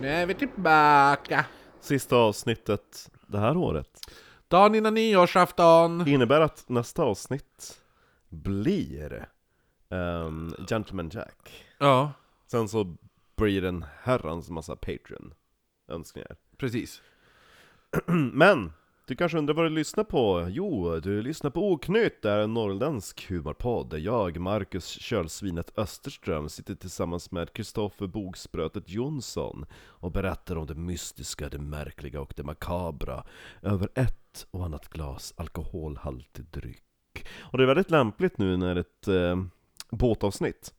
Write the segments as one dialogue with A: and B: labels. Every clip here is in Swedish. A: Nu är vi tillbaka.
B: Sista avsnittet det här året.
A: Dagen innan nyårsafton.
B: Det innebär att nästa avsnitt blir ehm, Gentleman Jack.
A: Ja,
B: Sen så blir det en herrans massa Patreon-önskningar.
A: precis.
B: Men! Du kanske undrar vad du lyssnar på? Jo, du lyssnar på Oknytt, det är en norrländsk humorpodd där jag, Marcus Kölsvinet Österström, sitter tillsammans med Kristoffer Bogsprötet Jonsson och berättar om det mystiska, det märkliga och det makabra över ett och annat glas alkoholhaltig dryck. Och det är väldigt lämpligt nu när ett eh, båtavsnitt,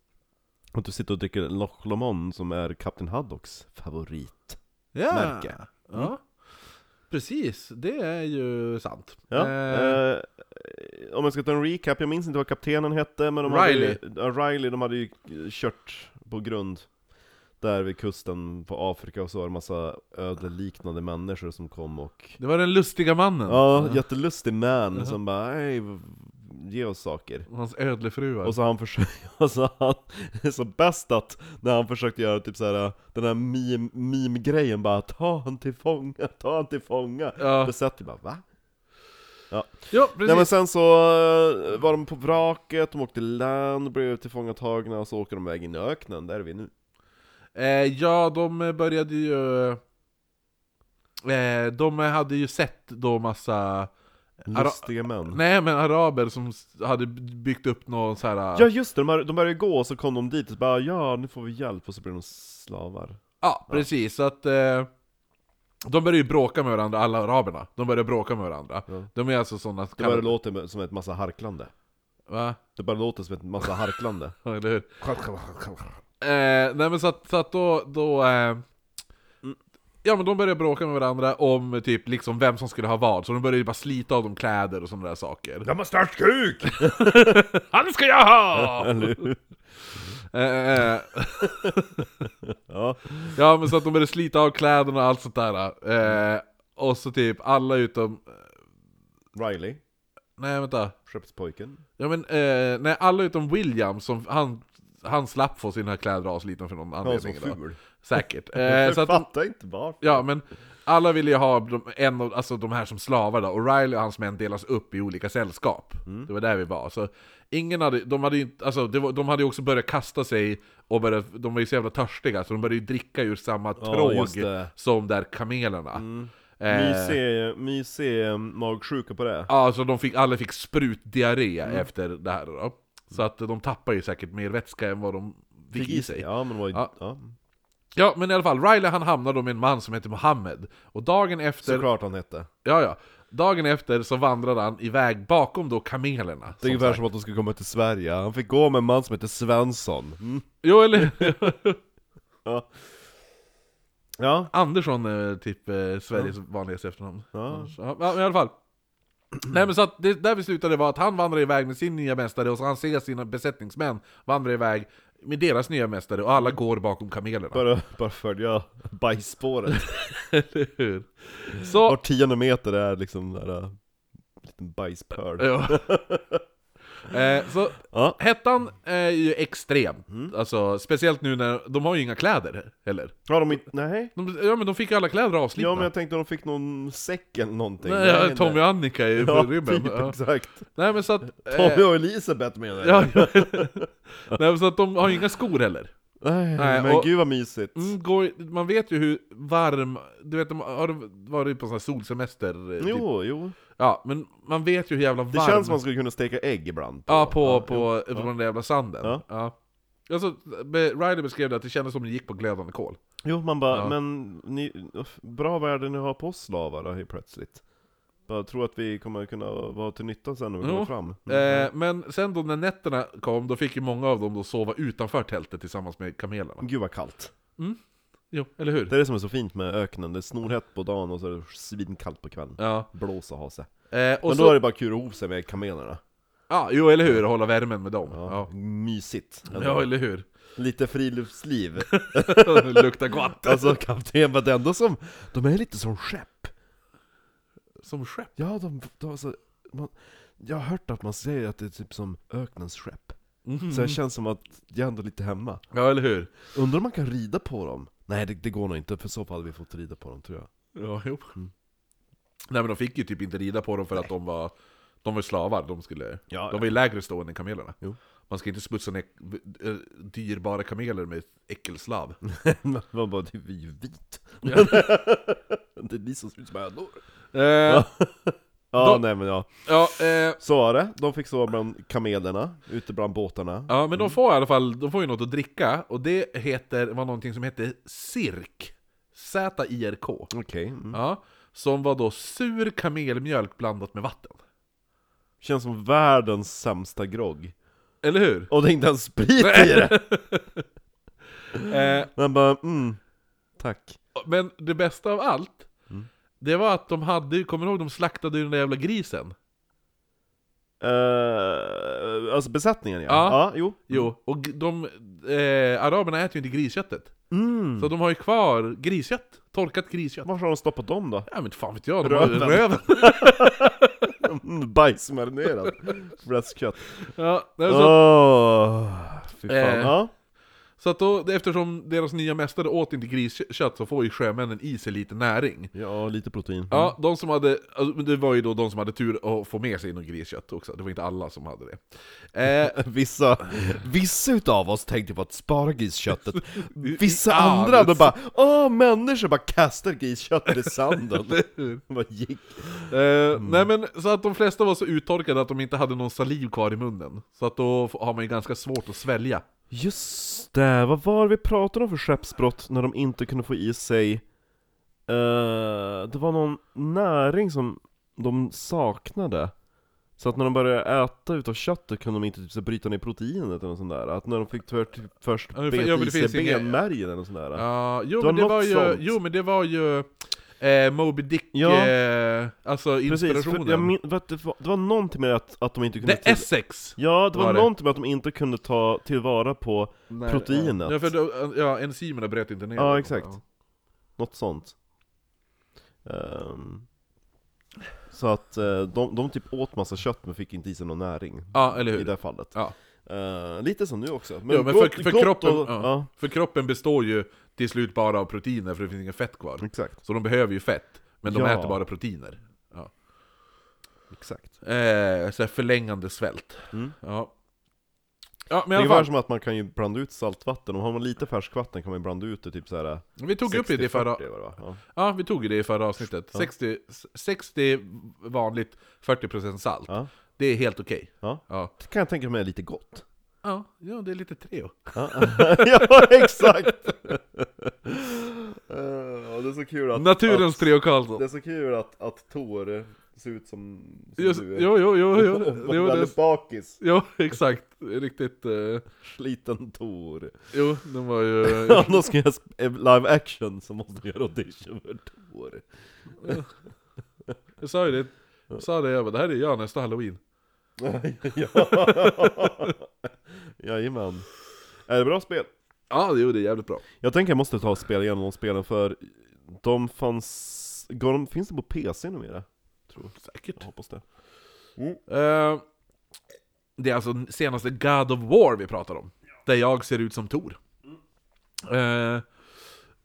B: att du sitter och dricker Loch Lomond som är Kapten Haddocks favorit.
A: Ja. Ah,
B: Märke. Mm.
A: Ja. Precis, det är ju sant.
B: Ja,
A: Eh,
B: eh, om jag ska ta en recap, jag minns inte vad kaptenen hette, men de hade
A: Riley.
B: Ju, ja, Riley, de hade ju eh, kört på grund där vid kusten på Afrika och så var det massa ödeliknande människor som kom och
A: det var den lustiga mannen. Eh,
B: Ja, jättelustig man
A: Mm.
B: som bara "Hej, v- ge oss saker.
A: Och hans ödlefruar.
B: Och så han försökte, och så han, det är så bäst att när han försökte göra typ såhär, den här meme- meme-grejen bara ta han till fånga, ta han till fånga.
A: Ja.
B: Besätt bara va?
A: Ja, precis.
B: Nej men sen så eh, var de på vraket, de åkte land, blev tillfångatagna och så åker de iväg in i öknen, där är vi nu.
A: Eh, ja, de eh, började ju... Eh, de hade ju sett då massa...
B: Lustiga män.
A: Nej men araber som s- hade byggt upp någon så här...
B: Ja just det, de, här, de började gå och så kom de dit och så bara ja, nu får vi hjälp och så blir de slavar.
A: Ja, precis. Så att eh, de börjar ju bråka med varandra, alla araberna. De börjar bråka med varandra. De är alltså sådana...
B: Det bara låter som ett massa harklande.
A: Va?
B: Det bara låter som ett massa harklande.
A: Ja, Eller hur? eh, nej men så att, så att då... då eh,
B: Mm.
A: Ja men de börjar bråka med varandra om typ liksom vem som skulle ha vad, så de börjar ju bara slita av dem kläder och sådana där saker.
B: De har störst kuk!
A: Han ska jag ha! Eh, eh,
B: Ja.
A: ja men så att de började slita av kläderna och allt sånt där. Eh, och så typ alla utom...
B: Riley,
A: Nej vänta.
B: skeppspojken.
A: Ja men, eh, nej alla utom William, som han, han slapp få sina kläder avslitna för någon
B: Han var så
A: anledning idag.
B: ful.
A: Säkert. Eh,
B: Jag
A: så att de,
B: fattar inte varför.
A: ja men, alla ville ju ha de, en av, alltså de här som slavar då, och Riley och hans män delas upp i olika sällskap.
B: Mm.
A: Det var där vi var. Så ingen hade, de hade ju inte, alltså det var, de hade ju också börjat kasta sig, och började, de var ju så jävla törstiga så de började ju dricka ur samma tråg
B: just det. Mm.
A: som där kamelerna. Eh,
B: Mysig, mysig eh, magsjuka på det.
A: Ja, så de fick, alla fick sprutdiarré
B: Mm.
A: efter det här då. Så att de tappar ju säkert mer vätska än vad de fick, i sig. Ja.
B: Ja, men det var ju...
A: Ja.
B: Ja.
A: men i alla fall, Riley han hamnade då med en man som hette Mohammed. Och dagen efter,
B: Såklart han hette.
A: ja ja, dagen efter så vandrade han iväg bakom då kamelerna.
B: Det är
A: som
B: ungefär
A: sagt.
B: som att de skulle komma till Sverige, han fick gå med en man som heter Svensson mm.
A: Jo eller
B: Ja,
A: Andersson är typ eh, Sveriges vanligaste efternamn.
B: Ja.
A: Ja, men i alla fall. Nej men så att det, där vi slutade var att han vandrar iväg med sin nya mästare och så han ser sina besättningsmän vandra iväg med deras nya mästare och
B: Mm.
A: alla går bakom kamelerna.
B: bara, bara följa bajsspåret
A: Eller hur? Så...
B: Var tionde meter är liksom där, äh, liten bajspöl
A: Ja. eh, så
B: Ja,
A: hettan är ju extrem.
B: Mm.
A: Alltså, speciellt nu när de har ju inga kläder heller.
B: har de inte, nej?
A: De, ja men de fick ju alla kläder avslitna.
B: Ja men jag tänkte de fick någon säck eller någonting
A: Nej,
B: Nej,
A: ja, Tommy och Annika är ju på
B: Ja,
A: rymmen.
B: typ,
A: Ja.
B: exakt
A: Nej men så att... eh,
B: Tommy och Elisabeth menar jag
A: ja, ja. Nej men så att de har ju inga skor heller.
B: Nej,
A: Nej,
B: men
A: och-
B: gud vad mysigt
A: Mm, går, man vet ju hur varm... Du vet, de har du varit på sån här solsemester? eh, Typ.
B: Jo, jo
A: Ja, men man vet ju hur jävla varm...
B: Det känns som man skulle kunna steka ägg ibland
A: Ja, på, på, på den där jävla sanden. Ja.
B: Ja.
A: Alltså, be, Riley beskrev det att det kändes som att det gick på glödande kol.
B: Jo, man bara,
A: Ja.
B: men ni, uff, bra värde ni har på oss slavar då, helt plötsligt. Bara tror att vi kommer kunna vara till nytta sen när vi
A: Jo.
B: kommer fram. Mm.
A: Eh, men sen då när nätterna kom, då fick ju många av dem då sova utanför tältet tillsammans med kamelerna.
B: Gud vad kallt.
A: Jo, eller hur?
B: Det är det som är så fint med öknen, det är snorhett på dagen och så är det svinkallt på kvällen.
A: Ja.
B: Blås och ha sig.
A: Eh, och
B: Men
A: så,
B: då är det bara kul att ro sig med kamelerna.
A: Ja, jo eller hur, hålla värmen med dem. Ja,
B: Ja. Mysigt.
A: ja.
B: Ändå.
A: eller hur.
B: Lite friluftsliv.
A: Luktar gott.
B: alltså kapten, men det är ändå som, de är lite som skepp.
A: Som skepp.
B: Ja, de, de alltså, man, jag har hört att man säger att det är typ som öknens skepp. Så jag känns som att jag är ändå lite hemma.
A: Ja, eller hur?
B: Undrar om man kan rida på dem? Nej det, det går nog inte, för så fall hade vi fått rida på dem tror jag.
A: Ja, jo. Mm. Nej men de fick ju typ inte rida på dem för att de var, de var slavar, de skulle...
B: Ja,
A: de var ju lägre stående än kamelerna.
B: Jo.
A: Man ska inte smutsa ner eh, dyrbara kameler med äckelslav.
B: Man bara, det är ju vit. det är ni som ser ut som ödlor.
A: Eh,
B: Ja,
A: De-
B: nej men ja.
A: ja, eh,
B: Så var det, de fick sova bland kamelerna, ute bland båtarna.
A: Ja, men de får i alla fall de får ju något att dricka, och det heter, var någonting som hette Cirk. Z-I-R-K.
B: Okej. Mm.
A: Ja, som var då sur kamelmjölk blandat med vatten.
B: Känns som världens sämsta grogg.
A: Eller hur?
B: Och det är inte ens sprit i det!
A: Eh,
B: Man bara, mm, tack.
A: men det bästa av allt,
B: Mm.
A: det var att de hade, kommer du ihåg, de slaktade ju den där jävla grisen?
B: Eh, alltså besättningen ja.
A: Ja.
B: ja jo.
A: Jo, och g- de, eh, araberna äter ju inte grisköttet.
B: Mm.
A: Så de har ju kvar griskött, torkat griskött.
B: Varför har de stoppat dem då?
A: Ja men fan vet jag, de har ju
B: Röven.
A: röven.
B: Mm, Bajsmarinerad fläskkött.
A: Ja, nej, så,
B: Åh, fy fan.
A: Eh.
B: Ja.
A: så att då, eftersom deras nya mästare åt inte griskött så får ju sjömännen i sig lite näring.
B: ja, lite protein.
A: Ja, de som hade, alltså, men det var ju då de som hade tur att få med sig något griskött också, det var inte alla som hade det. Eh,
B: Vissa, vissa utav oss tänkte på att spara grisköttet, vissa
A: i
B: andra
A: anus.
B: då bara Åh, människor bara kastar grisköttet i sanden! Vad gick?
A: Eh,
B: Mm.
A: Nej men så att de flesta var så uttorkade att de inte hade någon saliv kvar i munnen. Så att då f- har man ju ganska svårt att svälja.
B: Just det, vad var det vi pratade om för skeppsbrott när de inte kunde få i sig eh, Det var någon näring som de saknade Så att när de började äta utav köttet kunde de inte typ, så här bryta ner proteinet eller något sånt där Att när de fick typ, först
A: Ja, det fin-
B: beta
A: ja, men
B: i
A: det
B: sig
A: finns inga-
B: benmärgen eller något sånt där
A: Ja, jo,
B: Det var
A: men det
B: något
A: var ju,
B: sånt.
A: jo men det var ju eh, Moby Dick,
B: Ja.
A: eh, alltså
B: Precis,
A: inspirationen.
B: för jag min, vet, du, det, var, det var någonting med att, att de inte kunde...
A: det är Essex!
B: ja, det var,
A: var det.
B: någonting med att de inte kunde ta tillvara på proteinet.
A: Ja, för då, ja, enzymerna bröt inte ner
B: Ja,
A: det.
B: exakt. Något sånt. Ehm, så att eh, de, de typ åt massa kött men fick inte i sig någon näring.
A: Ja, eller
B: I
A: hur?
B: det fallet.
A: Ja.
B: Eh, lite som nu också.
A: Men, ja, men för, för, kroppen,
B: och,
A: ja.
B: ja.
A: för kroppen består ju till slut bara av proteiner, för det finns inget fett kvar.
B: exakt.
A: Så de behöver ju fett, men de
B: Mm. Ja.
A: äter bara proteiner. Ja.
B: exakt.
A: Eh, så här förlängande svält.
B: Mm.
A: Ja. ja,
B: Det
A: men
B: är
A: i
B: ungefär
A: alla fall.
B: som att man kan ju blanda ut saltvatten, om man har lite färskvatten kan man ju blanda ut det typ såhär
A: Vi tog upp ju det i förra,
B: 40 var det va? Ja.
A: ja, vi tog ju det i förra avsnittet.
B: Ja.
A: 60, 60 vanligt, 40% salt.
B: Ja.
A: Det är helt okej.
B: Ja.
A: Ja.
B: Det kan jag tänka mig är lite gott.
A: Ja, ja, det är lite Treo.
B: Ja, ja exakt! Eh, ja, det är så kul att...
A: Naturens Treo
B: Att,
A: Karlsson.
B: det är så kul att, att Tor ser ut som, som
A: Just,
B: du är.
A: jo, jo, jo, jo,
B: Och var
A: jo, det,
B: väldigt bakis.
A: jo, exakt. Riktigt. eh,
B: Sliten Tor.
A: jo, den var ju...
B: Om de ska göra sp- eh, live action så måste de göra audition för Tor.
A: Jag sa ju det. Jag sa det, jag bara, det här är jag nästa halloween.
B: ja. Jajamän. Är det bra spel?
A: Ja, jo, det är jävligt bra.
B: Jag tänker jag måste ta och spela igenom de spelen för de fanns... Går de, finns det på PC numera?
A: Säkert.
B: Jag hoppas det.
A: Eh, det är alltså den senaste God of War vi pratar om. Där jag ser ut som Tor. Eh,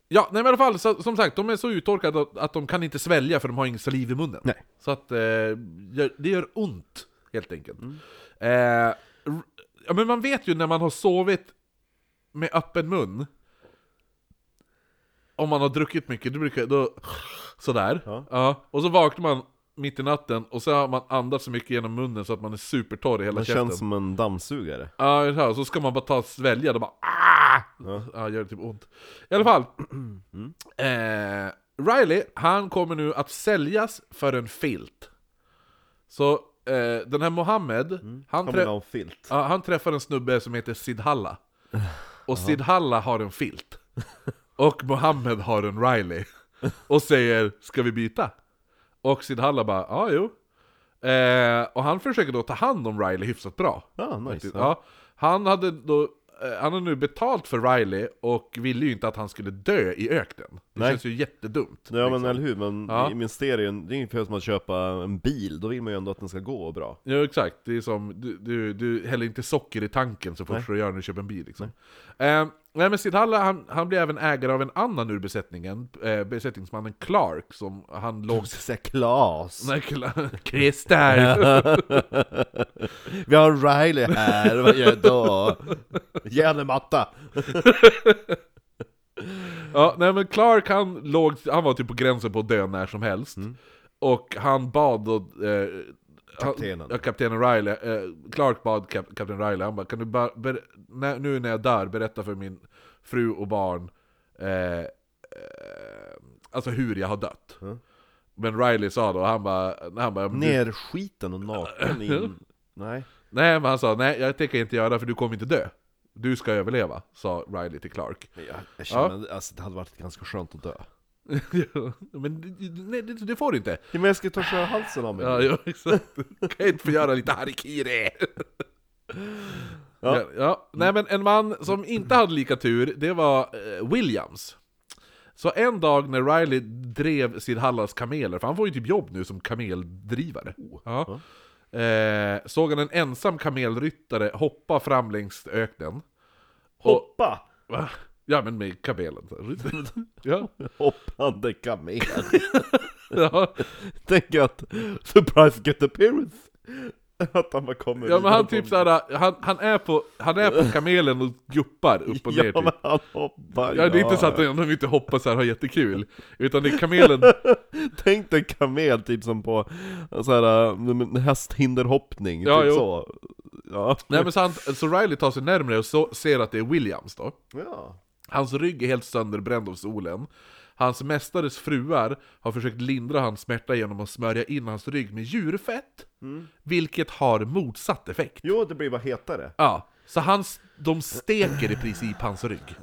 A: ja, nej men i alla fall, så, som sagt, de är så uttorkade att, att de kan inte svälja för de har ingen saliv i munnen.
B: Nej.
A: Så att eh, gör- det gör ont, helt enkelt.
B: Mm.
A: Eh, r- ja, men man vet ju när man har sovit med öppen mun, om man har druckit mycket, då brukar då, sådär.
B: Ja.
A: och så vaknar man mitt i natten och så har man andats så mycket genom munnen så att man är supertorr i hela
B: Man
A: käften.
B: känns som en dammsugare.
A: Ja, det här, och så ska man bara ta och svälja, då bara ah!
B: Ja.
A: ja, gör det typ ont. I alla fall. Eh, Riley, han kommer nu att säljas för en filt. Så eh, den här Mohammed, han,
B: Han
A: trä-
B: vill ha en filt.
A: ja, han träffar en snubbe som heter Sidhalla. Och Sidhalla har en filt. Och Mohammed har en Riley. Och säger ”Ska vi byta?” Och Sidhalla bara ”Ja, jo”. Eh, och han försöker då ta hand om Riley hyfsat bra.
B: Ah, nice.
A: Ja. Han hade då eh, han har nu betalt för Riley och ville ju inte att han skulle dö i öknen. Det
B: Nej.
A: känns ju jättedumt.
B: liksom. Ja men eller hur, men
A: Ja.
B: i Mysterium, det är ungefär som att köpa en bil, då vill man ju ändå att den ska gå bra.
A: Ja exakt, det är som, du, du, du häller inte socker i tanken så först du gör när du köper en bil liksom. Eh, nej men Sidhalla, han, han blir även ägare av en annan ur besättningen, eh, besättningsmannen Clark, som han låg...
B: Så säga Klas!
A: Nej, Cla- Christer!
B: Vi har Riley här, vad gör jag då? Ge henne en matta!
A: ja, nej men Clark han låg, han var typ på gränsen på att dö när som helst.
B: Mm.
A: Och han bad då... Eh, han-
B: Kaptenen.
A: Ja, kaptenen Riley. Eh, Clark bad kap, kapten Riley, han bara kan du bara, ber, när, nu när jag dör, berätta för min fru och barn eh, eh, Alltså hur jag har dött.
B: Mm.
A: Men Riley sa då, han bara, han bara "Men du-
B: Nerskiten och naken i en... Nej.
A: Nej men han sa, nej jag tänker inte göra det för du kommer inte dö. Du ska överleva, sa Riley till Clark.
B: Men Jag, jag känner, alltså det hade varit ganska skönt att dö.
A: Ja, men det- nej, det, det får du inte.
B: Ja, men jag ska ta för halsen av mig.
A: Ja, ja exakt. Kan jag inte få göra lite harikiri?
B: Ja.
A: Ja. Ja. Nej men en man som inte hade lika tur, det var eh, Williams. Så en dag när Riley drev Sidhallas kameler, för han får ju typ jobb nu som kameldrivare. Ja. Eh, såg han en ensam kamelryttare hoppa fram längs öknen.
B: Hoppa!
A: Va? Ja men med kamelen. Ja.
B: Hoppande kamel.
A: Ja.
B: Tänk att, surprise get appearance! Att han bara kommer
A: Ja men han
B: vidare
A: typ
B: från-
A: såhär, han, han, är på, han är på kamelen och guppar upp och ner
B: Ja
A: typ.
B: men han hoppar
A: Ja, det är inte så att de de inte hoppar så här har jättekul, utan det är kamelen...
B: Tänk dig kamel typ som på så här, äh, hästhinderhoppning,
A: Ja,
B: typ
A: jo.
B: så Ja,
A: Nej, men så, han, så Riley tar sig närmre och så, ser att det är Williams då.
B: ja.
A: Hans rygg är helt sönderbränd av solen. Hans mästares fruar har försökt lindra hans smärta genom att smörja in hans rygg med djurfett,
B: Mm.
A: vilket har motsatt effekt.
B: Jo, det blir bara hetare
A: Ja, så hans, de steker i princip hans rygg.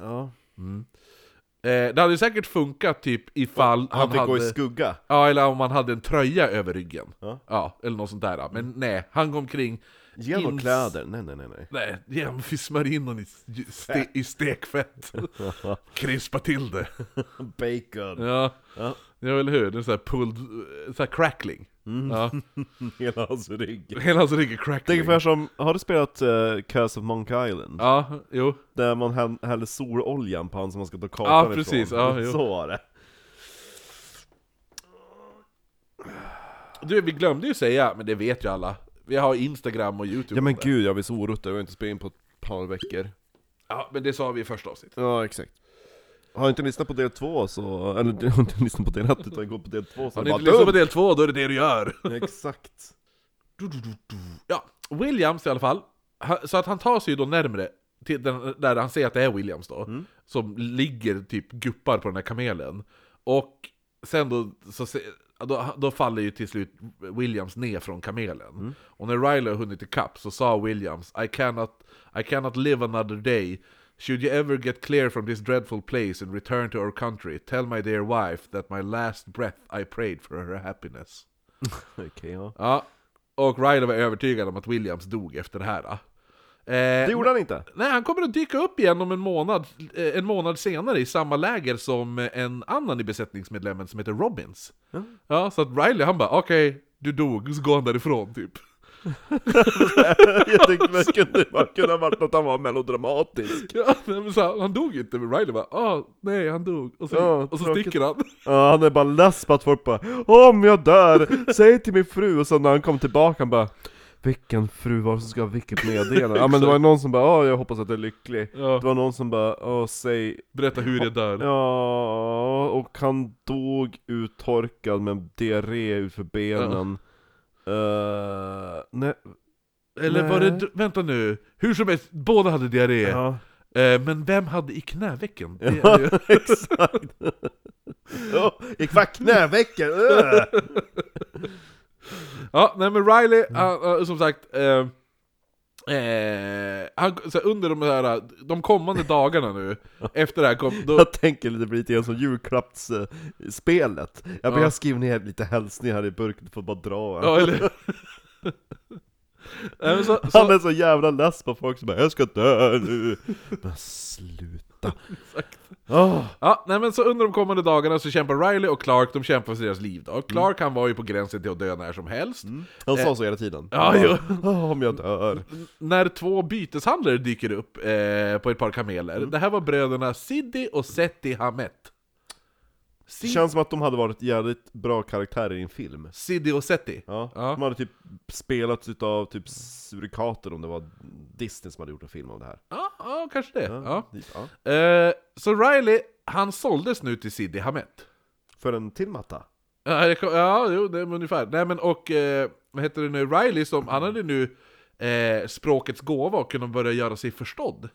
A: Mm.
B: Ja,
A: Eh, det hade säkert funkat typ ifall
B: han, fick
A: hade...
B: gå i skugga
A: Ja, eller om han hade en tröja över ryggen.
B: Ja.
A: eller något sånt där. Men nej, han går omkring...
B: Ge honom
A: ins-
B: kläder, nej nej nej nej
A: Nej, ja, men vi smörjer in honom i, ste i stekfett. Krispa till det.
B: Bacon,
A: Ja.
B: Ja.
A: ja, eller hur? Det är så här pulled... Så här crackling.
B: Mm.
A: Ja.
B: hela hans rygg
A: Hela hans rygg är
B: Det är
A: crackling.
B: ungefär som, har du spelat eh, Curse of Monk Island?
A: Ja, jo.
B: Där man häll- häller sololjan på han som man ska ta kartan
A: Ja,
B: ifrån
A: precis. Ja, jo.
B: Så var det
A: Du, vi glömde ju säga, men det vet ju alla. Vi har Instagram och Youtube.
B: Ja men gud, jag blir så oruttig, jag har inte spelat in på ett par veckor
A: ja, men det sa vi i första avsnittet.
B: Ja, exakt. Har inte lyssnat på del två så, eller du har inte lyssnat på del ett utan går på del två så
A: Har
B: är
A: ni
B: det
A: inte
B: bara
A: lyssnat på
B: dum!
A: del två, då är det det du gör.
B: Exakt.
A: Du, du, du, du. Ja, Williams i alla fall. Han- Så att han tar sig ju då närmre till den, där han ser att det är Williams då. Som ligger typ guppar på den här kamelen. Och sen då, så se, då, då faller ju till slut Williams ner från kamelen. Och när Riley har hunnit ikapp så sa Williams I cannot, I cannot live another day. Should you ever get clear from this dreadful place and return to our country, tell my dear wife that my last breath I prayed for her happiness.
B: Okej, ja.
A: Ja, och Riley var övertygad om att Williams dog efter det här. då. Eh,
B: Det gjorde han inte!
A: Nej, han kommer att dyka upp igen om en månad, eh, en månad senare i samma läger som eh, en annan i besättningsmedlemmen som heter Robbins. Ja, så att Riley han bara okej, du dog, så går han därifrån typ.
B: Jag tänkte men kunde det bara kunna ha varit att han var melodramatisk.
A: Ja, nej, men så här, han dog inte, men Riley bara ah, nej han dog, och så,
B: Ja,
A: och så
B: tråkigt.
A: sticker han.
B: Ja, han är bara less på att folk bara Om jag dör, säg till min fru! Och sen när han kom tillbaka han bara Vilken fru var det som ska ha vilket meddelande? Ja men det var någon som bara Åh jag hoppas att du är lycklig
A: Ja.
B: Det var någon som bara Åh säg
A: Berätta hur jag dör.
B: Ja, och han dog uttorkad med diarré utför benen. Eh, nej,
A: Eller var det,
B: Nej.
A: d- vänta nu, hur som helst, båda hade diarré.
B: ja.
A: Eh, men vem hade i knävecken? Det-
B: ja exakt. Ja, Gick bara knävecken. eh.
A: Ja, nej men Riley,
B: Mm.
A: han, han, som sagt, eh, eh, han, så här, under de, här, de kommande dagarna nu, efter det här kom, då,
B: Jag tänker det blir lite grann som julklappsspelet.
A: Ja.
B: Jag, ja. jag skriver ner lite hälsningar här i burken, du får bara dra.
A: ja, eller, Nej, men så,
B: Han
A: så,
B: är så jävla less på folk som bara 'Jag ska dö nu' Men sluta! Ah,
A: Exakt.
B: Åh.
A: ja, nej, men så under de kommande dagarna så kämpar Riley och Clark, de kämpar för deras liv.
B: Mm.
A: Då. Clark han var ju på gränsen till att dö när som helst.
B: Han sa så hela tiden.
A: Eh, Ja, jo.
B: "Åh, om jag dör.
A: När två byteshandlare dyker upp eh, på ett par kameler.
B: Mm.
A: Det här var bröderna Siddi och Seti Hamet.
B: Det
A: Sid-
B: känns som att de hade varit jävligt bra karaktärer i en film.
A: Siddi och Seti.
B: Ja.
A: Ja.
B: De hade typ spelats utav typ surikater om det var Disney som hade gjort en film av det här.
A: Ja, ja kanske det. Ja.
B: Typ, ja.
A: Eh, så Riley, han såldes nu till Siddi Hamet.
B: För en till matta.
A: Ja, det kom, ja jo, det är ungefär. Nej men och, eh, vad heter det nu, Riley som, han hade nu eh, språkets gåva och kunde börja göra sig förstådd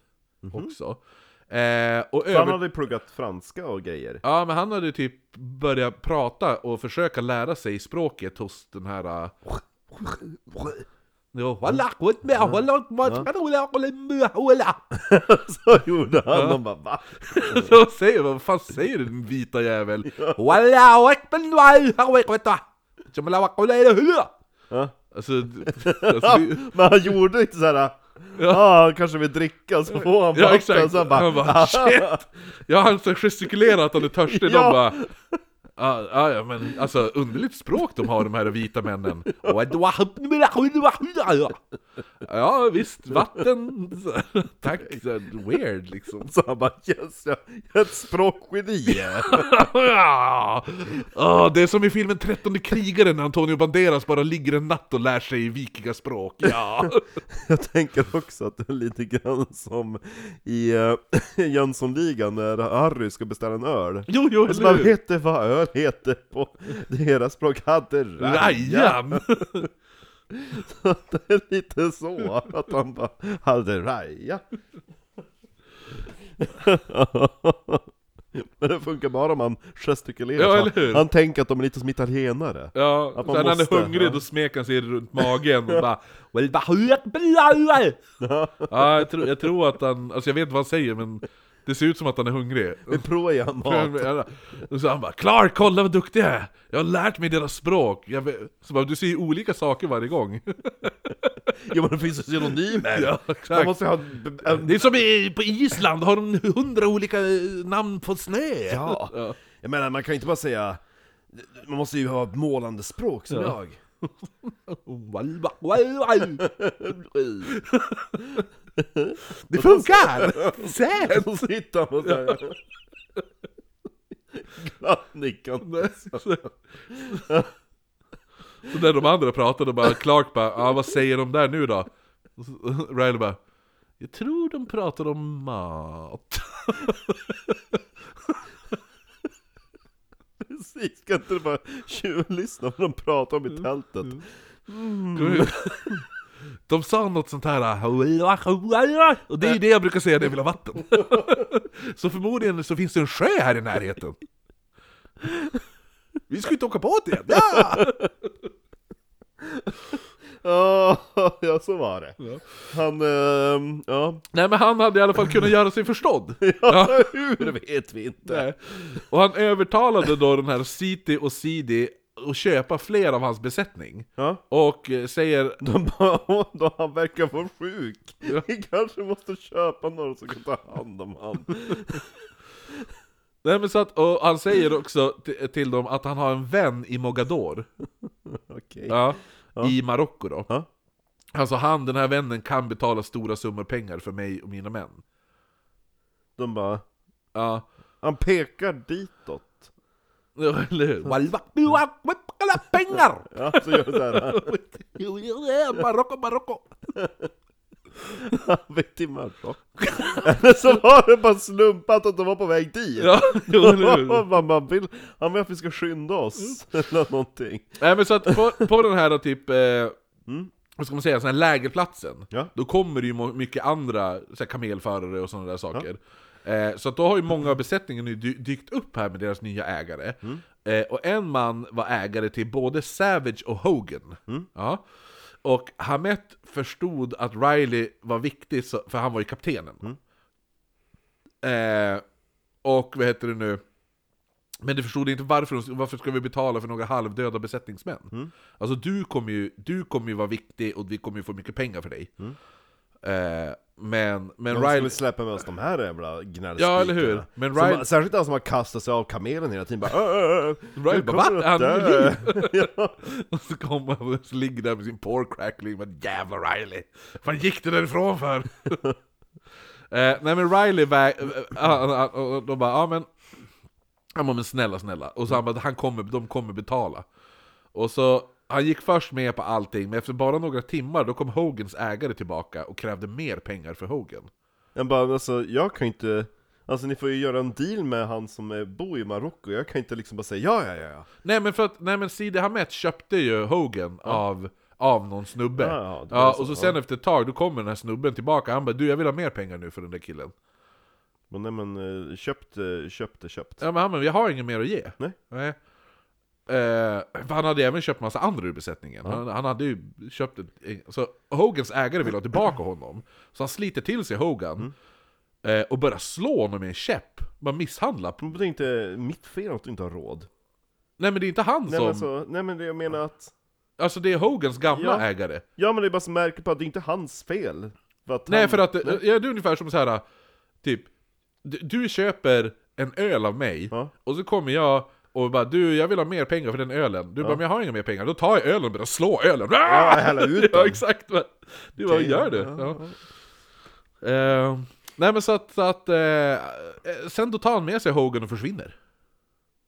A: också. Eh, och
B: För Mhm. han
A: över...
B: hade ju pluggat franska och grejer.
A: Ja men han hade typ börjat prata och försöka lära sig språket hos den här... eh, Ja, voilà, gott med, voilà, mat, voilà, voilà, voilà.
B: Så gjorde han, de bara va?
A: Så säger vad fan säger du din vita jävel? Voilà, och men du är här och vet du. Som la vakola i det hula.
B: Ja.
A: Alltså, alltså det,
B: Men han gjorde inte såhär Ja, han kanske vill dricka så får han
A: Ja
B: vatten",
A: exakt,
B: så han bara, "Ah."
A: han bara shit! Ja han så gestikulerar att han är törstig,
B: Ja.
A: de bara Ja, ja, ja, men alltså underligt språk de har de här vita männen. Ja visst, vatten, tack, så här, weird liksom.
B: Så han bara 'Yes, jag, jag är ett språkgeni'
A: Ja, Ah, det är som i filmen 13 krigaren när Antonio Banderas bara ligger en natt och lär sig vikingaspråk. Ja.
B: Jag tänker också att det är lite grann som i uh, Jönssonligan när Harry ska beställa en öl.
A: Jo, jo,
B: Och så man
A: eller hur?
B: vet det vad öl heter på deras språk, hade raja!
A: Rajan!
B: Det är lite så, att han bara hade raja! Men det funkar bara om man gestikulerar
A: Ja,
B: så
A: eller
B: han,
A: hur?
B: han tänker att de är lite som italienare
A: Ja,
B: Att
A: så
B: man
A: när han
B: måste,
A: är hungrig
B: ja.
A: då smeker han sig runt magen och bara "Well, vad hört blöder?" Ja, jag tror, jag tror att han, alltså jag vet inte vad han säger men det ser ut som att han är hungrig.
B: Vi provar igen mat!
A: Och så han bara 'Clark, kolla vad duktig jag är! Jag har lärt mig deras språk' jag vet. Så bara, du säger olika saker varje gång.
B: Jo men det finns ju synonymer!
A: Ja,
B: man
A: exakt.
B: måste ju ha en, en
A: Det är som i, på Island, har de hundra olika eh, namn på snö!
B: Ja. Jag menar, man kan ju inte bara säga... Man måste ju ha ett målande språk som jag.
A: Well, well, well. Det funkar! Säkert!
B: Så sitter han och säger... Glatt nickande.
A: Så Så när de andra pratade bara, Clark bara ah, vad säger de där nu då?” Och så- Riley bara ”Jag tror de pratar om mat”.
B: Precis, kan inte du bara tjuvlyssna vad de pratar om i
A: Mm.
B: tältet?
A: De sa något sånt här och det är ju det jag brukar säga när jag vill ha vatten. Så förmodligen så finns det en sjö här i närheten. Vi ska ju inte åka båt igen! Ja!
B: Ja, ja så var det. Han, ehm, ja.
A: Nej men han hade i alla fall kunnat göra sig förstådd.
B: ja. Hur vet vi inte.
A: Nej. Och han övertalade då den här Siti och Sidi att köpa fler av hans besättning.
B: Ja.
A: Och eh, säger...
B: De bara, "Åh, då han verkar vara sjuk. Vi kanske måste köpa några som kan ta hand om honom.
A: Nej, men så att, och han säger också t- till dem att han har en vän i Mogador.
B: Okej.
A: Ja, I Marocko då.
B: Ja.
A: Alltså han, den här vännen, kan betala stora summor pengar för mig och mina män.
B: De bara,
A: Ja.
B: Han pekar ditåt.
A: Ja, Eller hur? Alla pengar!
B: Ja, så gör det där.
A: Marocko, Marocko!
B: Han vet i Marocko. Eller så var det bara slumpat att de var på väg dit.
A: Ja, jo, eller hur? Mm.
B: man, man vill, han vill att vi ska skynda oss, eller någonting.
A: Nej men så att på, på den här typ, eh, vad ska man säga, sån här lägerplatsen
B: Ja.
A: Då kommer det ju mo- mycket andra så här, kamelförare och sådana där saker eh, Så att då har ju många av besättningen nu dy- dykt upp här med deras nya ägare eh, Och en man var ägare till både Savage och Hogan ja. Och Hamet förstod att Riley var viktig, så, för han var ju kaptenen Eh, och vad heter det nu? Men du förstod inte varför, de- varför ska vi betala för några halvdöda besättningsmän? Alltså du kommer, ju, du kommer ju vara viktig och vi kommer ju få mycket pengar för dig. Eh, men men
B: De skulle
A: Riley...
B: släppa med oss de här jävla gnällspikarna
A: Ja, eller hur? Men
B: Som-
A: Riley-
B: Särskilt den som har kastat sig av kamelen hela tiden bara "Äh, äh,
A: Riley
B: jag
A: bara,
B: kommer
A: "Va?
B: att
A: Är han
B: dö."
A: Och så kommer han och så ligger där med sin pork crackling, men jävla Riley! Vad gick du därifrån för? eh, nej men Riley, väg, äh, äh, äh, de bara, ja men... Han bara, men snälla snälla. Och så han bara, han kommer, de kommer betala. Och så, han gick först med på allting, men efter bara några timmar då kom Hogans ägare tillbaka och krävde mer pengar för Hogan.
B: Jag bara, "Men alltså jag kan ju inte Alltså ni får ju göra en deal med han som är- bor i Marocko, jag kan inte liksom bara säga ja, ja, ja, ja.
A: Nej men för att, nej men Sidi Hamet köpte ju Hogan av, av någon snubbe.
B: Ja, ja, det var
A: ja,
B: så,
A: och så sen efter ett tag, då kommer den här snubben tillbaka, han bara du jag vill ha mer pengar nu för den där killen.
B: Men nej men, eh, köpt, eh, köpt, är köpt
A: Ja men han bara, jag har inget mer att ge.
B: Nej.
A: Eh, för han hade ju även köpt massa andra ur besättningen. Han, han hade ju köpt ett, Så Hogans ägare vill ha tillbaka honom. Så han sliter till sig Hogan.
B: Mm.
A: Eh, och börjar slå honom med en käpp. Bara misshandla.
B: Men det är inte mitt fel att du inte har råd
A: Nej men det är inte han
B: Nej
A: som...
B: men
A: Alltså...
B: alltså, nej men det jag menar att
A: det är Hogans gamla
B: Ja.
A: ägare.
B: Ja men det är bara så märker på att det är inte hans fel för att
A: Nej
B: han,
A: för att, eh, ja, det är ungefär som så här typ, du, du köper en öl av mig,
B: Ja.
A: och så kommer jag och bara du, jag vill ha mer pengar för den ölen. Du bara, men jag har inga mer pengar. Då tar jag ölen och börjar slå ölen. Ah!
B: Ja, hälla ut
A: Ja,
B: den.
A: exakt. va. Du bara,
B: Damn.
A: gör det. Ja. Eh, nej men så att, så att eh, eh, sen då tar han med sig Hogan och försvinner.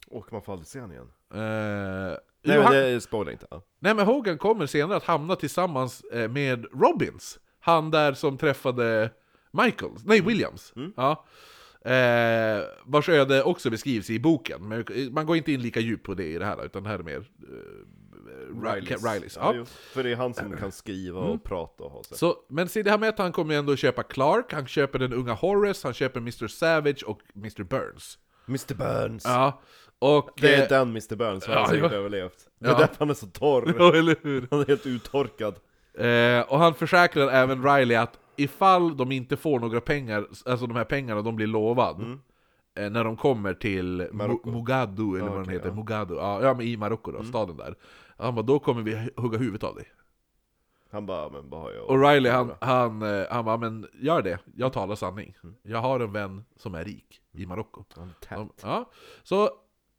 B: Åh, man får aldrig se han igen
A: Eh, nej,
B: Nej
A: men
B: men
A: han,
B: det spoilar inte ja.
A: nej men Hogan kommer senare att hamna tillsammans eh, med Robbins. Han där som träffade Michaels, nej Williams. Ja. Eh, vars öde också beskrivs i boken, men man går inte in lika djupt på det i det här, utan det här är mer eh, Rileys. Rileys. Ja. Mm.
B: Ja, jo, för det är han som kan skriva och prata och ha sig.
A: Så, men Sidi Hamet han kommer ju ändå köpa Clark, han köper den unga Horace, han köper Mr Savage och Mr Burns.
B: Mr Burns!
A: Ja, och...
B: Det är
A: eh,
B: den Mr Burns, han har
A: Ja,
B: säkert
A: ja.
B: överlevt. Det
A: Ja.
B: är därför han är så torr.
A: ja, eller hur?
B: Han är helt uttorkad.
A: Eh, och han försäkrar även Riley att ifall de inte får några pengar, alltså de här pengarna de blir lovad, eh, när de kommer till Mo- Mogadu, eller vad den heter, Mogadu, ja, ja men i Marocko då, staden där. Han bara, då kommer vi hugga huvudet av dig.
B: Han bara, men vad har jag?
A: Och Riley han, han, eh, han bara, men gör det, jag talar sanning. Jag har en vän som är rik i Marocko.
B: Han är
A: De,
B: tänd.
A: ja. Så,